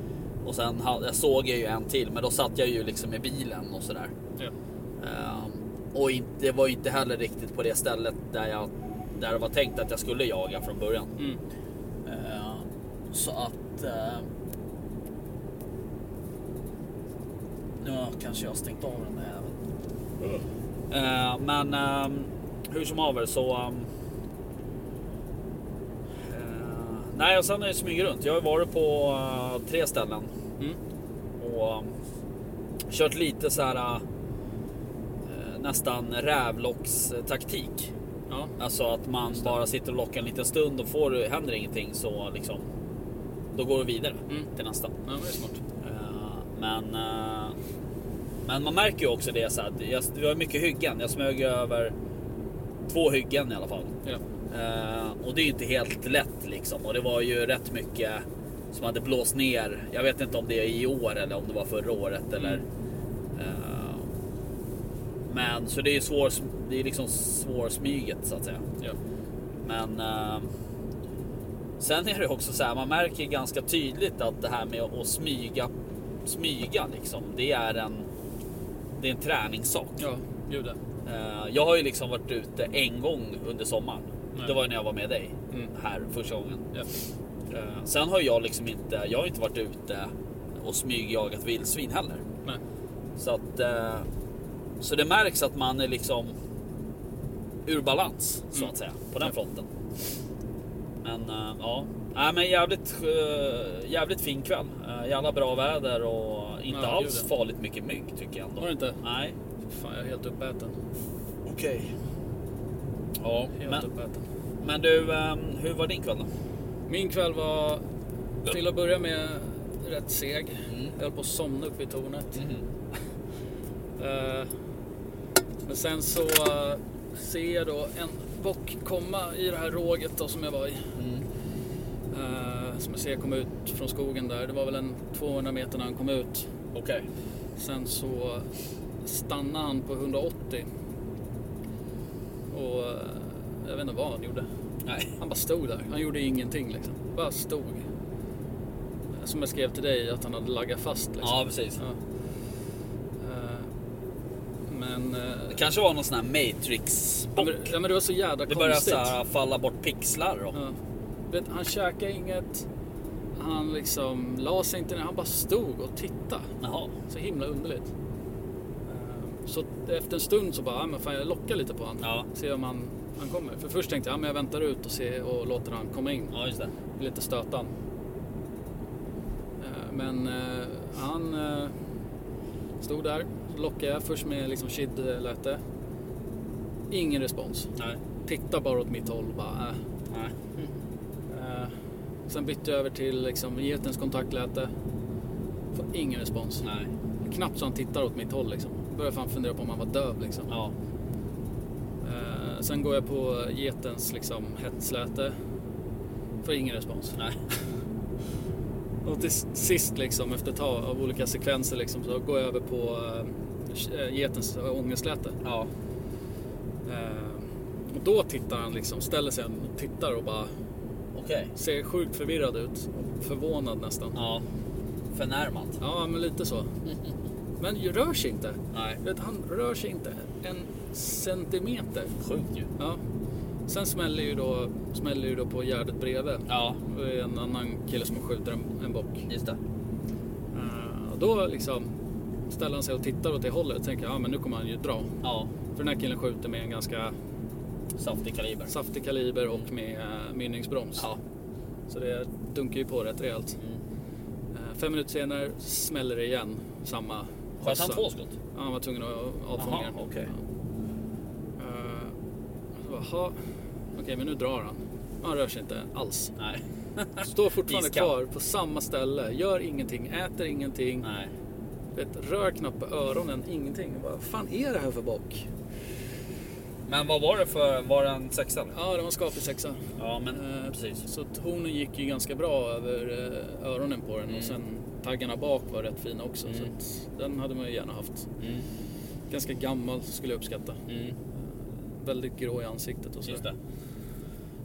S3: Och sen ha- jag såg jag ju en till, men då satt jag ju liksom i bilen och sådär.
S4: Ja.
S3: Ehm, och in, det var ju inte heller riktigt på det stället där jag där det var tänkt att jag skulle jaga från början.
S4: Mm.
S3: Ehm, så att... ehm, nu har kanske jag stängt av den där jäveln. Ehm, men ehm, hur som haver så... ehm, ehm, nej, och sen har jag smugit runt. Jag har ju varit på eh, tre ställen
S4: Mm.
S3: och um, kört lite så här uh, eh, nästan rävlockstaktik.
S4: Ja.
S3: Alltså att man bara sitter och lockar en liten stund och får, händer ingenting så liksom då går du vidare
S4: Mm.
S3: till nästa.
S4: ja, men det är smart.
S3: Eh, Men, eh, men man märker ju också det så här att jag, det var mycket hyggen. Jag smög över två hyggen i alla fall.
S4: Ja.
S3: Eh, och det är ju inte helt lätt liksom. Och det var ju rätt mycket som hade blåst ner. Jag vet inte om det är i år eller om det var förra året eller.
S4: Mm.
S3: eh, men så det är ju svår, det är liksom svårsmyget så att säga.
S4: Ja.
S3: Men eh, sen är det också så här, man märker ganska tydligt att det här med att smyga, smyga liksom, det är en, det är en träningssak.
S4: Ja, gud ja.
S3: Eh, Jag har ju liksom varit ute en gång under sommaren.
S4: Nej.
S3: Det var ju när jag var med dig
S4: Mm.
S3: här första gången.
S4: Ja.
S3: Eh, Sen har jag liksom inte, jag har inte varit ute och smygjagat vildsvin heller.
S4: Nej.
S3: Så att, eh, så det märks att man är liksom, ur balans så
S4: Mm.
S3: att säga på den fronten. Men eh, ja, Nej, men jävligt, eh, jävligt fin kväll. Eh, Jävla bra väder och inte
S4: Ja,
S3: alls
S4: gud, ja.
S3: farligt mycket mygg tycker jag ändå.
S4: Var det inte?
S3: Nej.
S4: Fan, jag är helt uppäten.
S3: Okej. Ja,
S4: Helt
S3: men,
S4: uppäten.
S3: men du, eh, hur var din kväll då?
S4: Min kväll var till att börja med rätt seg. Jag höll på att somna uppe i tornet. Eh, Men sen så eh, ser jag då en bock komma i det här råget då som jag var i. Eh, Som jag ser komma ut från skogen där. Det var väl en 200 meter när han kom ut.
S3: Okej.
S4: Sen så stannade han på 180. Och eh, jag vet inte vad han gjorde.
S3: Nej.
S4: Han bara stod där. Han gjorde ingenting liksom. Bara stod. Som jag skrev till dig att han hade laggat fast liksom.
S3: Ja, precis.
S4: Ja. Eh, Men... eh,
S3: Det kanske var någon sån här matrix
S4: ja, men, ja, men det var så jävla
S3: Det börjar
S4: konstigt.
S3: så här falla bort pixlar och...
S4: Ja. Vet, han käkade inget. Han liksom la sig inte ner. Han bara stod och tittade.
S3: Jaha.
S4: Så himla underligt. Eh, Så efter en stund så bara, ja, men fan jag lockar lite på honom.
S3: Ja.
S4: Se om han, han kommer. För först tänkte jag, ja, men jag väntar ut och, ser, och låter han komma in.
S3: Ja, just det.
S4: Vill inte stöta han. Eh, Men eh, han eh, stod där. Så lockade jag först med liksom kidläte. Ingen respons.
S3: Nej.
S4: Titta bara åt mitt håll och bara, äh.
S3: Nej.
S4: Eh, Sen bytte jag över till liksom, getens kontaktläte. Får ingen respons.
S3: Nej.
S4: Knappt så han tittar åt mitt håll liksom. Börjar fan fundera på om han var döv liksom.
S3: Ja.
S4: Eh, sen går jag på getens liksom hetsläte. Får ingen respons.
S3: Nej.
S4: Och till sist liksom efter ett tag av olika sekvenser liksom så går jag över på eh, getens ångestläte.
S3: Ja.
S4: Eh, och då tittar han liksom, ställer sig och tittar och bara
S3: Okej.
S4: ser sjukt förvirrad ut. Förvånad nästan.
S3: Ja. Förnärmat.
S4: Ja, men lite så. Men ju rör sig inte.
S3: Nej.
S4: Vet, han rör sig inte en centimeter.
S3: Sjukt ju.
S4: Ja. Sen smäller ju då, smäller ju då på gärdet bredvid.
S3: Ja.
S4: Det är en annan kille som skjuter en, en bock.
S3: Just det.
S4: Eh, och då liksom ställer han sig och tittar åt det hållet. Tänker jag, ja men nu kommer han ju dra.
S3: Ja.
S4: För den här killen skjuter med en ganska
S3: Saftig kaliber.
S4: saftig kaliber och med uh, mynningsbroms.
S3: Ja.
S4: Så det dunkar ju på rätt rejält.
S3: Mm.
S4: Eh, fem minuter senare smäller det igen. Samma
S3: Sköt han
S4: bössa.
S3: två skott?
S4: Ja, han var tvungen att avfånga
S3: Jaha,
S4: den.
S3: okej.
S4: Ja. Eh, så bara, "Ha, Okej, men nu drar han. Han rör sig inte alls.
S3: Nej.
S4: Står fortfarande
S3: Iskall.
S4: kvar på samma ställe, gör ingenting, äter ingenting,
S3: Nej.
S4: vet, rör knappt på öronen, ingenting. Jag Bara, Vad fan är det här för bock?
S3: Men vad var det för... Var det en sexa? eller?
S4: Ja, det var en skaplig sexa.
S3: Ja, men
S4: Eh,
S3: precis.
S4: Så att hornen gick ju ganska bra över eh, öronen på den och sen taggarna bak var rätt fina också. Så att den hade man ju gärna haft.
S3: Mm.
S4: Ganska gammal skulle jag uppskatta.
S3: Mm.
S4: Väldigt grå i ansiktet och så.
S3: Just det.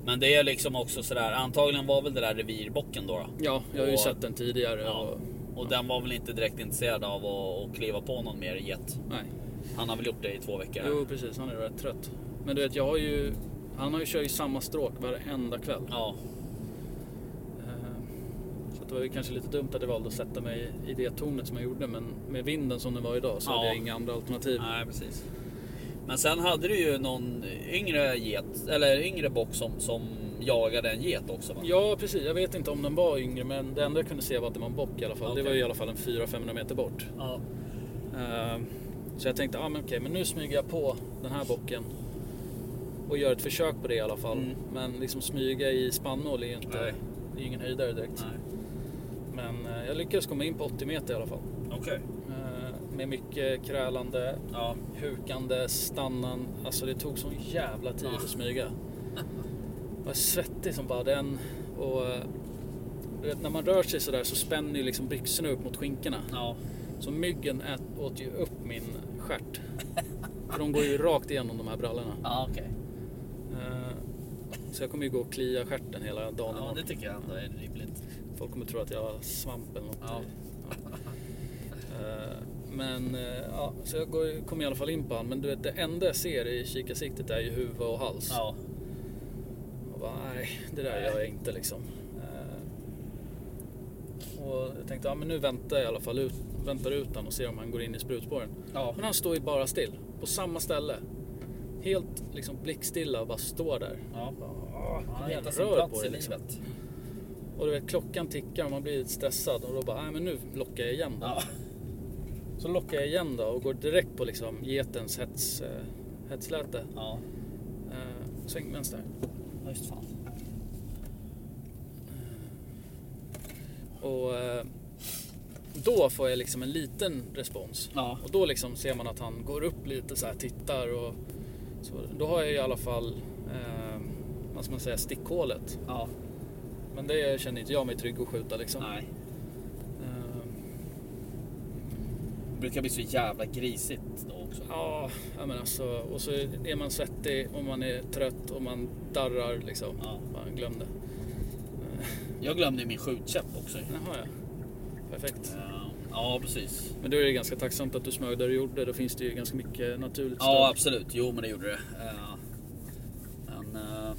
S3: Men det är liksom också sådär. Antagligen var väl det där revirbocken då. då.
S4: Ja, jag har ju
S3: Och-
S4: sett den tidigare.
S3: Ja.
S4: Och,
S3: Och den var väl inte direkt intresserad av att, att kliva på någon mer jet.
S4: nej.
S3: Han har väl gjort det i två veckor.
S4: Jo, precis. Han är rätt trött. Men du vet, jag har ju... Han har ju kört i samma stråk varenda kväll.
S3: Ja.
S4: Eh, Så att det var ju kanske lite dumt att jag valde att sätta mig i det tornet som jag gjorde. Men med vinden som den var idag så
S3: Ja.
S4: hade jag inga andra alternativ.
S3: Nej, precis. Men sen hade du ju någon yngre get, eller yngre bock som, som jagade en get också va?
S4: Ja, precis. Jag vet inte om den var yngre, men det enda jag kunde se var att det var en bock i alla fall.
S3: Okej.
S4: Det var ju i alla fall en 400-500 meter bort.
S3: Ja.
S4: Eh, Så jag tänkte, ah, men okej, men nu smyger jag på den här bocken. Och gör ett försök på det i alla fall.
S3: Mm.
S4: Men liksom smyga i spannmål är ju inte,
S3: Nej.
S4: det är ju ingen höjdare direkt.
S3: Nej.
S4: Men eh, jag lyckades komma in på 80 meter i alla fall.
S3: Okej.
S4: Eh, Med mycket krälande,
S3: Ja.
S4: hukande, stannan. Alltså det tog sån jävla tid
S3: Ja.
S4: att smyga. Jag var svettig som bara den. Och eh, du vet, när man rör sig sådär så spänner ju liksom byxorna upp mot skinkorna.
S3: Ja.
S4: Så myggen ät, åt ju upp min stjärt. För de går ju rakt igenom de här brallorna.
S3: Ja, okej.
S4: Eh, Så jag kommer ju gå och klia stjärten hela dagen
S3: Ja,
S4: imorgon.
S3: det tycker jag ändå är rimligt.
S4: Folk kommer tro att jag har svamp eller något.
S3: Ja.
S4: Ja. Eh, Men eh, ja, så jag går, kom i alla fall in på han. Men du vet, det enda jag ser i kikarsiktet är ju huvud och hals.
S3: Ja.
S4: Och bara, nej, det där gör jag inte liksom. Eh, Och jag tänkte, ja men nu väntar jag i alla fall ut, väntar ut han och ser om han går in i sprutspåren.
S3: Ja.
S4: Men han står ju bara still, på samma ställe. helt liksom blickstilla och bara står där.
S3: Ja.
S4: kom
S3: Han
S4: igen,
S3: hittar sin
S4: rör på
S3: plats
S4: det
S3: i
S4: liksom.
S3: livet.
S4: Och du vet, klockan tickar och man blir lite stressad och då bara, nej men nu lockar jag igen då.
S3: Ja.
S4: Så lockar jag igen då och går direkt på liksom getens hets, eh, hetsläte.
S3: Ja.
S4: Eh, svängvänster.
S3: Ja, Just fan.
S4: Och eh, då får jag liksom en liten respons.
S3: Ja.
S4: Och då liksom ser man att han går upp lite så här, tittar och så. Då har jag i alla fall, eh, vad ska man säga, stickhålet.
S3: Ja.
S4: Men det känner inte jag mig trygg att skjuta liksom.
S3: Nej.
S4: Eh,
S3: Det brukar bli så jävla grisigt då också.
S4: ja, ja, men alltså, och så är man svettig och man är trött och man darrar liksom.
S3: Ja.
S4: Man glömde.
S3: Jag glömde ju min skjutkäpp också.
S4: Jaha ja. Perfekt.
S3: Eh, Ja, precis.
S4: Men då är det ganska tacksamt att du smög där du gjorde. Då finns det ju ganska mycket naturligt
S3: Ja, absolut. Jo, men det gjorde det. Eh, Men... eh,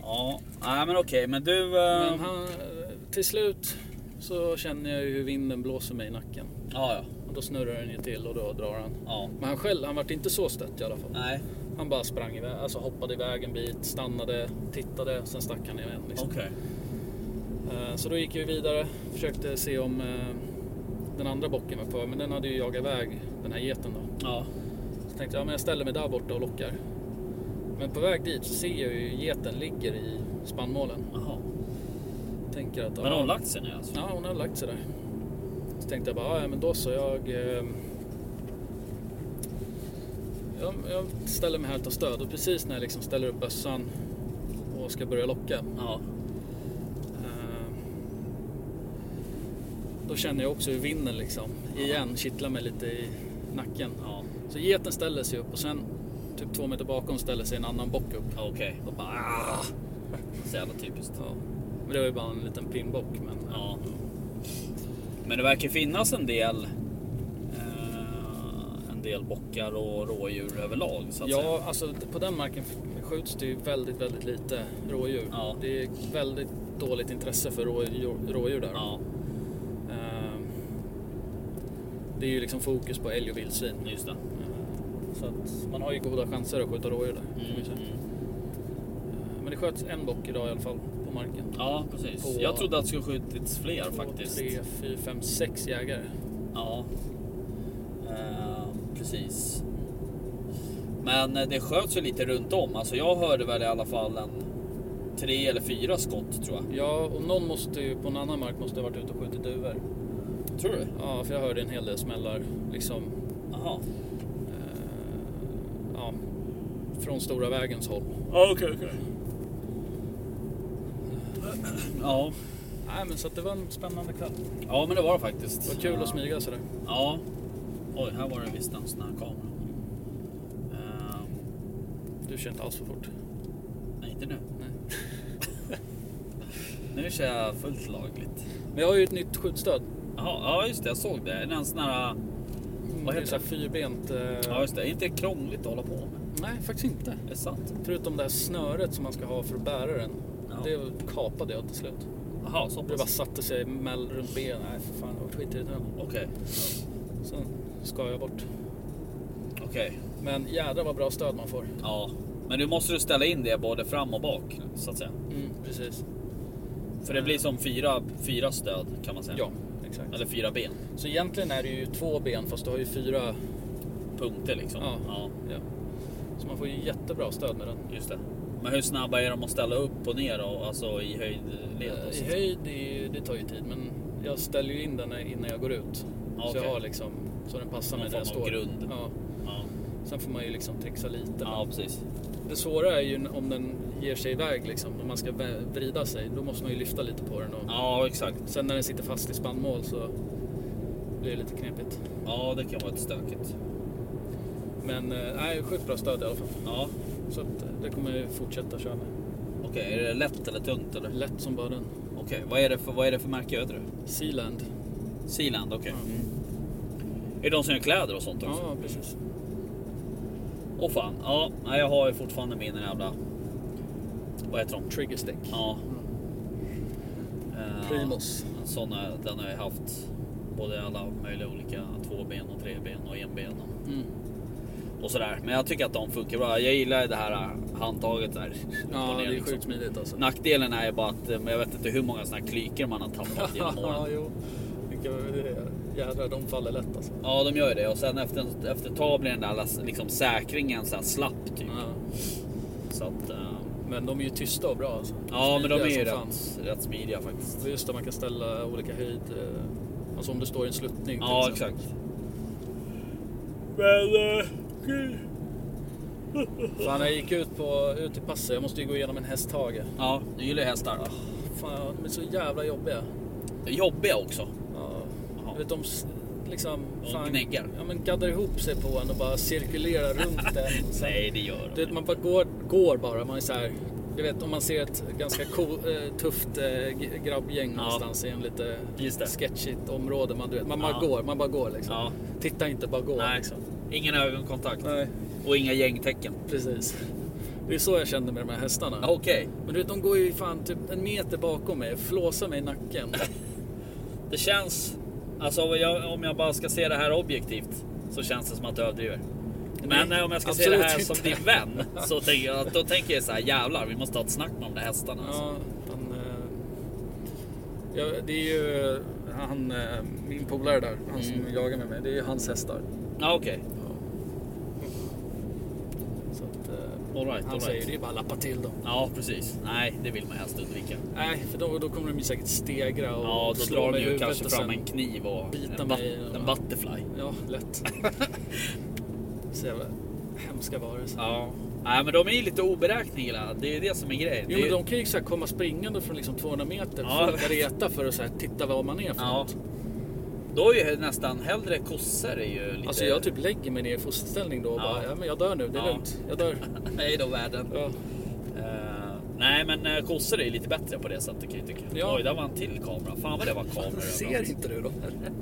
S3: Ja, nej men okej. Men du... eh,
S4: Men han, till slut så känner jag ju hur vinden blåser mig i nacken.
S3: Ja, ja.
S4: Och då snurrar den ju till och då drar han.
S3: ja.
S4: Men han själv, han vart inte så stött i alla fall.
S3: Nej,
S4: Han bara sprang iväg, alltså hoppade iväg en bit, stannade, tittade, sen stack han igen. Liksom.
S3: okej.
S4: Eh, Så då gick jag vidare, försökte se om eh, den andra bocken var kvar, men den hade ju jagat iväg den här geten då.
S3: Ja.
S4: Så tänkte jag, ja, men jag ställer mig där borta och lockar. Men på väg dit så ser jag ju geten ligger i spannmålen.
S3: Jaha.
S4: Tänker att,
S3: Men
S4: ja,
S3: har hon lagt sig nu alltså?
S4: Ja, hon har lagt sig där. Så tänkte jag bara, ja men då så, jag, eh, jag... Jag ställer mig här och tar stöd och precis när jag liksom ställer upp bössan och ska börja locka.
S3: Ja.
S4: eh, Då känner jag också hur vinden liksom igen kittlar mig lite i nacken.
S3: Ja.
S4: Så geten ställer sig upp och sen typ två meter bakom ställer sig en annan bock upp.
S3: Okej.
S4: Och bara, ah!
S3: Så jävla typiskt.
S4: ja. Men det var ju bara en liten pinnbock. Men,
S3: Ja. Men det verkar finnas en del... eh, en del bockar och rådjur överlag så att säga.
S4: Ja, alltså på den marken skjuts det ju väldigt, väldigt lite rådjur.
S3: Ja.
S4: Det är väldigt dåligt intresse för rådjur, rådjur där.
S3: Ja.
S4: Ehm, Det är ju liksom fokus på älg och vildsvin.
S3: Just det.
S4: Ehm, Så att man har ju goda chanser att skjuta rådjur där. Kan
S3: Mm,
S4: vi säga. Ehm, Men det sköts en bock idag i alla fall på marken.
S3: Ja, precis.
S4: På-
S3: Jag trodde att det skulle skjutits fler
S4: Två,
S3: faktiskt.
S4: tre, fyra, fem, sex jägare.
S3: Ja, eh, precis. Men eh, det sköts ju lite runt om. Alltså jag hörde väl i alla fall en tre eller fyra skott tror jag.
S4: Ja, och någon måste ju på en annan mark måste ha varit ute och skjutit duvor.
S3: Tror du?
S4: Ja, för jag hörde en hel del smällar liksom
S3: Jaha.
S4: Eh, ja, från Stora vägens håll.
S3: Okej, okej. Ja.
S4: Nej, men så att det var en spännande kväll.
S3: ja, men det var det
S4: Det
S3: faktiskt.
S4: var kul
S3: ja.
S4: att smyga sådär.
S3: Ja. Oj, här var det visst en sån här kamera. Ehm,
S4: Du kör inte alls för fort.
S3: nej, inte nu.
S4: Nej.
S3: Nu kör jag fullt lagligt.
S4: Men jag har ju ett nytt skjutstöd.
S3: Jaha, ja just det. Jag såg det. Är det en sån här... heter
S4: Vad heter det? är
S3: det?
S4: så här Fyrbent. eh,
S3: Ja, just det. Är det inte krångligt att hålla på med?
S4: Nej, faktiskt inte.
S3: Är det sant?
S4: Förutom det här snöret som man ska ha för att bära den.
S3: Ja.
S4: Det kapade jag till slut.
S3: Jaha, så
S4: Det bara
S3: pass.
S4: satte sig mell runt benen. Nej, för fan. Det var skitirriterande.
S3: Okej,
S4: Sen ska jag bort.
S3: okej.
S4: Men jädrar vad bra stöd man får.
S3: Ja. Men nu måste du ställa in det både fram och bak så att säga.
S4: Mm, precis.
S3: För det blir som fyra, fyra stöd kan man säga.
S4: Ja, exakt.
S3: Eller fyra ben.
S4: Så egentligen är det ju två ben fast du har ju fyra
S3: Punkter liksom.
S4: Ja. Ja. Så man får ju jättebra stöd med den.
S3: Just det. Men hur snabba är de att ställa upp och ner och alltså i höjdled? Och
S4: Eh, I
S3: så?
S4: höjd, det, är ju- det tar ju tid, men jag ställer ju in den innan jag går ut.
S3: Ja,
S4: Så jag
S3: okej.
S4: har liksom, så den passar
S3: Någon
S4: mig där jag
S3: form av
S4: står.
S3: grund.
S4: Ja.
S3: Ja.
S4: Sen får man ju liksom trixa lite.
S3: ja, precis.
S4: Det svåra är ju om den ger sig iväg liksom, när man ska vä- vrida sig. Då måste man ju lyfta lite på den. Och...
S3: Ja, exakt.
S4: Sen när den sitter fast i spannmål så blir det lite knepigt.
S3: Ja, det kan vara ett stökigt.
S4: Men eh, nej, sjukt bra stöd i alla fall.
S3: Ja,
S4: Så att, eh, det kommer jag ju fortsätta köra med.
S3: okej. Är det lätt eller tunt eller?
S4: Lätt som bara den.
S3: Okej, vad är det för, vad är det för märke heter det?
S4: Sealand.
S3: Sealand, okej.
S4: Mm.
S3: Är det de som gör kläder och sånt också?
S4: Ja, precis.
S3: Åh fan, ja, nej, jag har ju fortfarande min jävla... Vad heter de?
S4: Trigger stick.
S3: Ja. Eh,
S4: Primus.
S3: En sån har jag- den har jag haft. Både alla möjliga olika tvåben och treben och enben. Och...
S4: Mm.
S3: och sådär. Men jag tycker att de funkar bra. Jag gillar det här eh, handtaget där. upp och
S4: Ja,
S3: ner
S4: det är
S3: liksom.
S4: sjukt smidigt alltså.
S3: Nackdelen är ju bara att eh, men jag vet inte hur många sådana här klykor man har tappat genom
S4: Ja,
S3: åren.
S4: jo. Vilka- det är- Jädrar, de faller lätt alltså.
S3: Ja, de gör ju det. Och sen efter, efter ett tag blir den där liksom, säkringen så här slapp typ.
S4: Ja.
S3: Så att, eh,
S4: Men de är ju tysta och bra alltså.
S3: ja, men de är ju
S4: Smidiga som fan.
S3: rätt, rätt smidiga faktiskt.
S4: Det är just där man kan ställa olika höjd. eh, Alltså om du står i en sluttning. till
S3: Ja,
S4: exempel.
S3: exakt.
S4: Fan, jag gick ut, på, ut i passet. Jag måste ju gå igenom en hästhage.
S3: Ja, du gillar ju hästar.
S4: Fan, de är så jävla jobbiga.
S3: Jobbiga också.
S4: Ja.
S3: Jaha.
S4: Du vet, de s- liksom...
S3: De gnäggar.
S4: ja, men gaddar ihop sig på en och bara cirkulerar runt en.
S3: Nej, det gör
S4: Du
S3: de.
S4: vet, man bara går, går bara. Man är så här, du vet, om man ser ett ganska cool, eh, tufft eh, g- grabbgäng någonstans i en lite
S3: Just det.
S4: sketchigt område. Man, du vet, man bara
S3: Ja.
S4: går, man bara går liksom.
S3: Ja.
S4: Titta inte, bara gå.
S3: Nej,
S4: Liksom.
S3: ingen ögonkontakt
S4: Nej,
S3: och inga gängtecken.
S4: precis. Det är så jag kände med de här hästarna.
S3: Okej,
S4: Men du vet, de går ju fan typ en meter bakom mig, flåsar mig i nacken.
S3: det känns... Alltså om jag, om jag bara ska se det här objektivt så känns det som att du överdriver. Men
S4: Nej,
S3: eh, om jag ska se
S4: absolut
S3: det här
S4: inte.
S3: som din vän så tänker jag, då tänker jag så här jävlar vi måste ha ett snack med de där hästarna. Alltså.
S4: Ja, han, eh, ja, det är ju eh, han, eh, min polare där, han
S3: Mm.
S4: som jagar med mig, det är ju hans hästar.
S3: Ja, okej.
S4: Så att, eh,
S3: All right,
S4: Han
S3: all
S4: säger
S3: right.
S4: det är bara att lappa till dem.
S3: Ja, precis. Nej, det vill man helst undvika.
S4: Nej, för då, då kommer de ju säkert stegra och
S3: Ja, då
S4: slå
S3: drar de
S4: mig i
S3: ju
S4: huvudet
S3: kanske
S4: och
S3: fram
S4: sen-
S3: en kniv och
S4: bita
S3: en,
S4: mig
S3: bat-
S4: i den,
S3: en
S4: va?
S3: butterfly.
S4: Ja, lätt. Så jävla hemska varelser.
S3: Ja. Nej, men de är ju lite oberäkneliga. Det är ju det som är grejen.
S4: Jo,
S3: Det är
S4: men
S3: ju-
S4: de kan ju så här komma springande från liksom 200 meter.
S3: Ja.
S4: Försöka reta för att så här titta vad man är för
S3: Ja.
S4: något.
S3: Då är ju nästan hellre kossor är ju lite...
S4: Alltså jag typ lägger mig ner i fosterställning då och
S3: Ja.
S4: bara, ja men jag dör nu, det är
S3: Ja.
S4: lugnt. Jag dör.
S3: Nej då världen.
S4: Ja.
S3: Eh, nej men eh, kossor är ju lite bättre på det sättet kan jag tycka.
S4: Ja.
S3: Oj, där var en till kamera. Fan vad det var kameror överallt.
S4: Ser inte du då?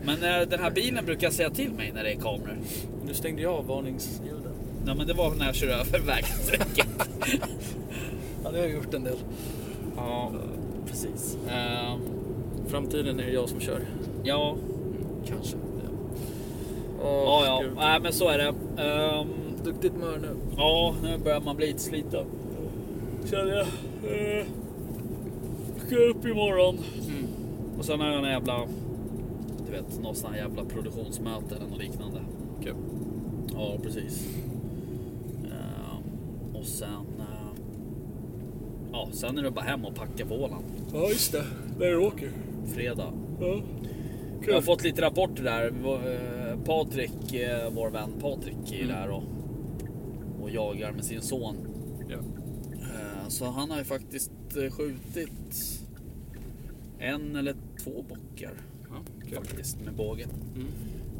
S3: Men eh, den här bilen brukar säga till mig när det är kameror.
S4: Nu stängde jag av varningsljuden.
S3: Nej men det var när jag kör över vägsträcket.
S4: Ja, det har jag gjort en del.
S3: ja, precis. Eh,
S4: Framtiden är det jag som kör.
S3: ja,
S4: Kanske. Ja,
S3: ja, Äh. ja.
S4: gud.
S3: Nej men så är det. Ehm,
S4: Duktigt mör nu.
S3: Ja, nu börjar man bli utsliten. Känner jag. Eh, Ska upp imorgon. Och sen har jag en jävla... Du vet, någon sån här jävla produktionsmöte eller något liknande.
S4: Kul.
S3: Ja, precis. Eh, och sen... eh, ja, sen är det bara hem och packa på Åland.
S4: Ja, just det. Där du åker.
S3: Fredag.
S4: Ja.
S3: Jag har fått lite rapporter där. Eh, Patrik, eh, vår vän Patrik är där och, och jagar med sin son.
S4: Ja.
S3: Eh, Så han har ju faktiskt eh, skjutit en eller två bockar
S4: kul.
S3: faktiskt med bågen.
S4: Mm.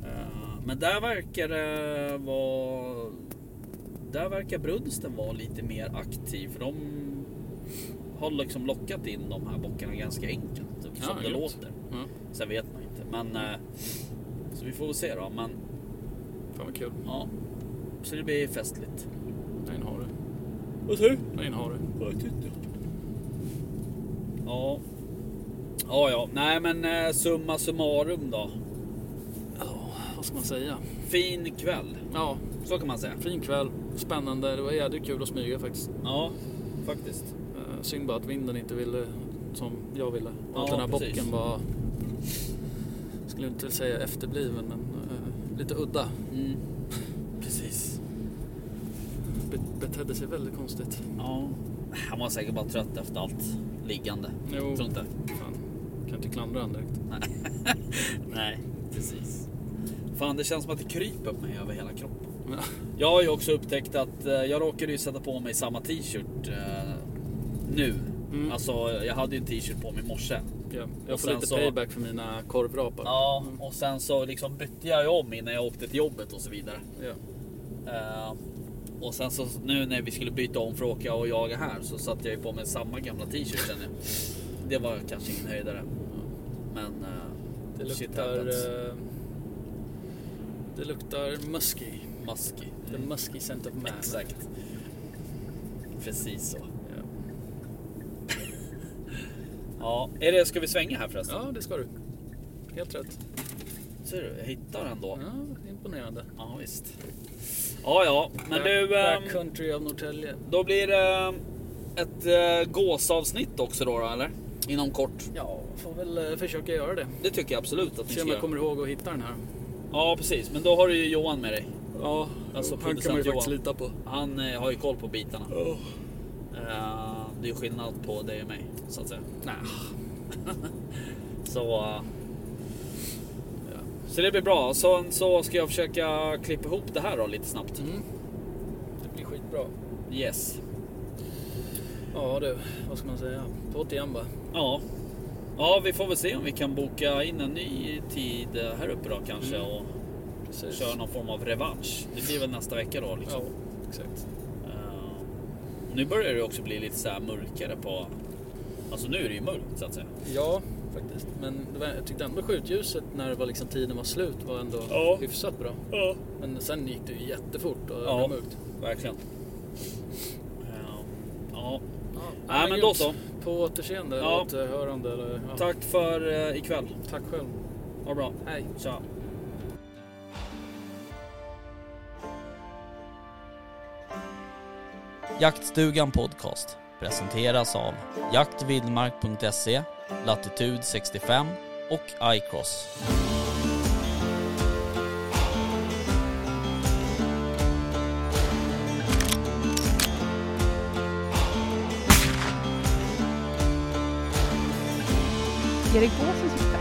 S3: Eh, Men där verkar det vara... Där verkar brunsten vara lite mer aktiv för de har liksom lockat in de här bockarna ganska enkelt som
S4: Ja,
S3: det
S4: gött.
S3: låter.
S4: Ja.
S3: Sen vet man inte. Men, eh, så vi får väl se då. Men
S4: Fan vad kul.
S3: ja, så det blir festligt.
S4: En har du.
S3: Vad säger du?
S4: En har du.
S3: Ja. Ja, ja. Nej, men eh, summa summarum då.
S4: Ja, vad ska man säga?
S3: Fin kväll.
S4: Ja,
S3: Så kan man säga.
S4: fin kväll. Spännande. Det var jädrigt kul att smyga faktiskt.
S3: Ja, faktiskt.
S4: Eh, synd bara att vinden inte ville som jag ville. Och
S3: Ja,
S4: att den här
S3: precis.
S4: bocken var, skulle inte säga efterbliven, men eh, lite udda.
S3: Mm. Precis.
S4: Be- betedde sig väldigt konstigt.
S3: Ja. Han var säkert bara trött efter allt liggande.
S4: Jo.
S3: Tror inte.
S4: Fan, kan inte klandra honom direkt.
S3: Nej, precis. Fan, det känns som att det kryper på mig över hela kroppen.
S4: Men,
S3: Jag har ju också upptäckt att eh, jag råkade ju sätta på mig samma t-shirt eh, nu.
S4: Mm.
S3: Alltså, jag hade ju en t-shirt på mig i morse.
S4: ja,
S3: Och
S4: jag får
S3: sen
S4: lite
S3: så-
S4: payback för mina korvrapar.
S3: Ja, och sen så liksom bytte jag ju om innan jag åkte till jobbet och så vidare.
S4: Ja.
S3: Eh, och sen så nu när vi skulle byta om för att åka och jaga här så satte jag ju på mig samma gamla t-shirt känner jag. Det var kanske ingen höjdare. Men eh,
S4: Det
S3: shit
S4: luktar...
S3: happens.
S4: eh, Det luktar musky.
S3: Musky.
S4: The musky scent of man.
S3: Mm. Exakt. Precis så.
S4: Ja.
S3: Ja, är det, ska vi svänga här förresten?
S4: Ja, det ska du. Helt rätt.
S3: Ser du, jag hittar ändå.
S4: Mm. Ja, imponerande.
S3: Ja, visst. Ja, ja. Men du, ehm,
S4: Backcountry av Norrtälje.
S3: då blir det ehm, ett eh, gåsavsnitt också då, då, eller? Inom kort.
S4: Ja, får väl eh, försöka göra det.
S3: Det tycker jag absolut att ni
S4: Se
S3: ska
S4: om jag
S3: göra.
S4: kommer ihåg att hitta den här.
S3: Ja, precis. Men då har du ju Johan med dig.
S4: Ja,
S3: Alltså,
S4: han kan man ju
S3: producent
S4: faktiskt
S3: Johan.
S4: lita på.
S3: Han eh, har ju koll på bitarna. Eh, det är ju skillnad på dig och mig, så att säga.
S4: Nej.
S3: Så, eh, ja. så det blir bra. Så, så ska jag försöka klippa ihop det här då lite snabbt.
S4: Mm. Det blir skitbra.
S3: Yes.
S4: Ja du, vad ska man säga? På till igen bara.
S3: Ja. Ja, vi får väl se om vi kan boka in en ny tid eh, här uppe då kanske
S4: Mm.
S3: och
S4: Precis.
S3: köra någon form av revansch. Det blir väl nästa vecka då liksom.
S4: Ja, exakt.
S3: Eh, nu börjar det också bli lite så här mörkare på... Alltså nu är det ju mörkt så att säga.
S4: Ja, faktiskt. Men det var, jag tyckte ändå skjutljuset när det var liksom tiden var slut var ändå
S3: Ja.
S4: hyfsat bra.
S3: Ja.
S4: Men sen gick det ju jättefort och
S3: Ja.
S4: det blev mörkt.
S3: Verkligen. Eh, ja.
S4: Ja,
S3: Nej, men då
S4: grymt.
S3: så.
S4: På återseende,
S3: Ja.
S4: ja. återhörande eller... Ja.
S3: Tack för eh, ikväll.
S4: Tack själv.
S3: Ha det bra.
S4: Hej.
S3: Tja.
S6: Jaktstugan Podcast presenteras av jaktvildmark.se, Latitude 65 och iCross.
S7: Erik Båsen som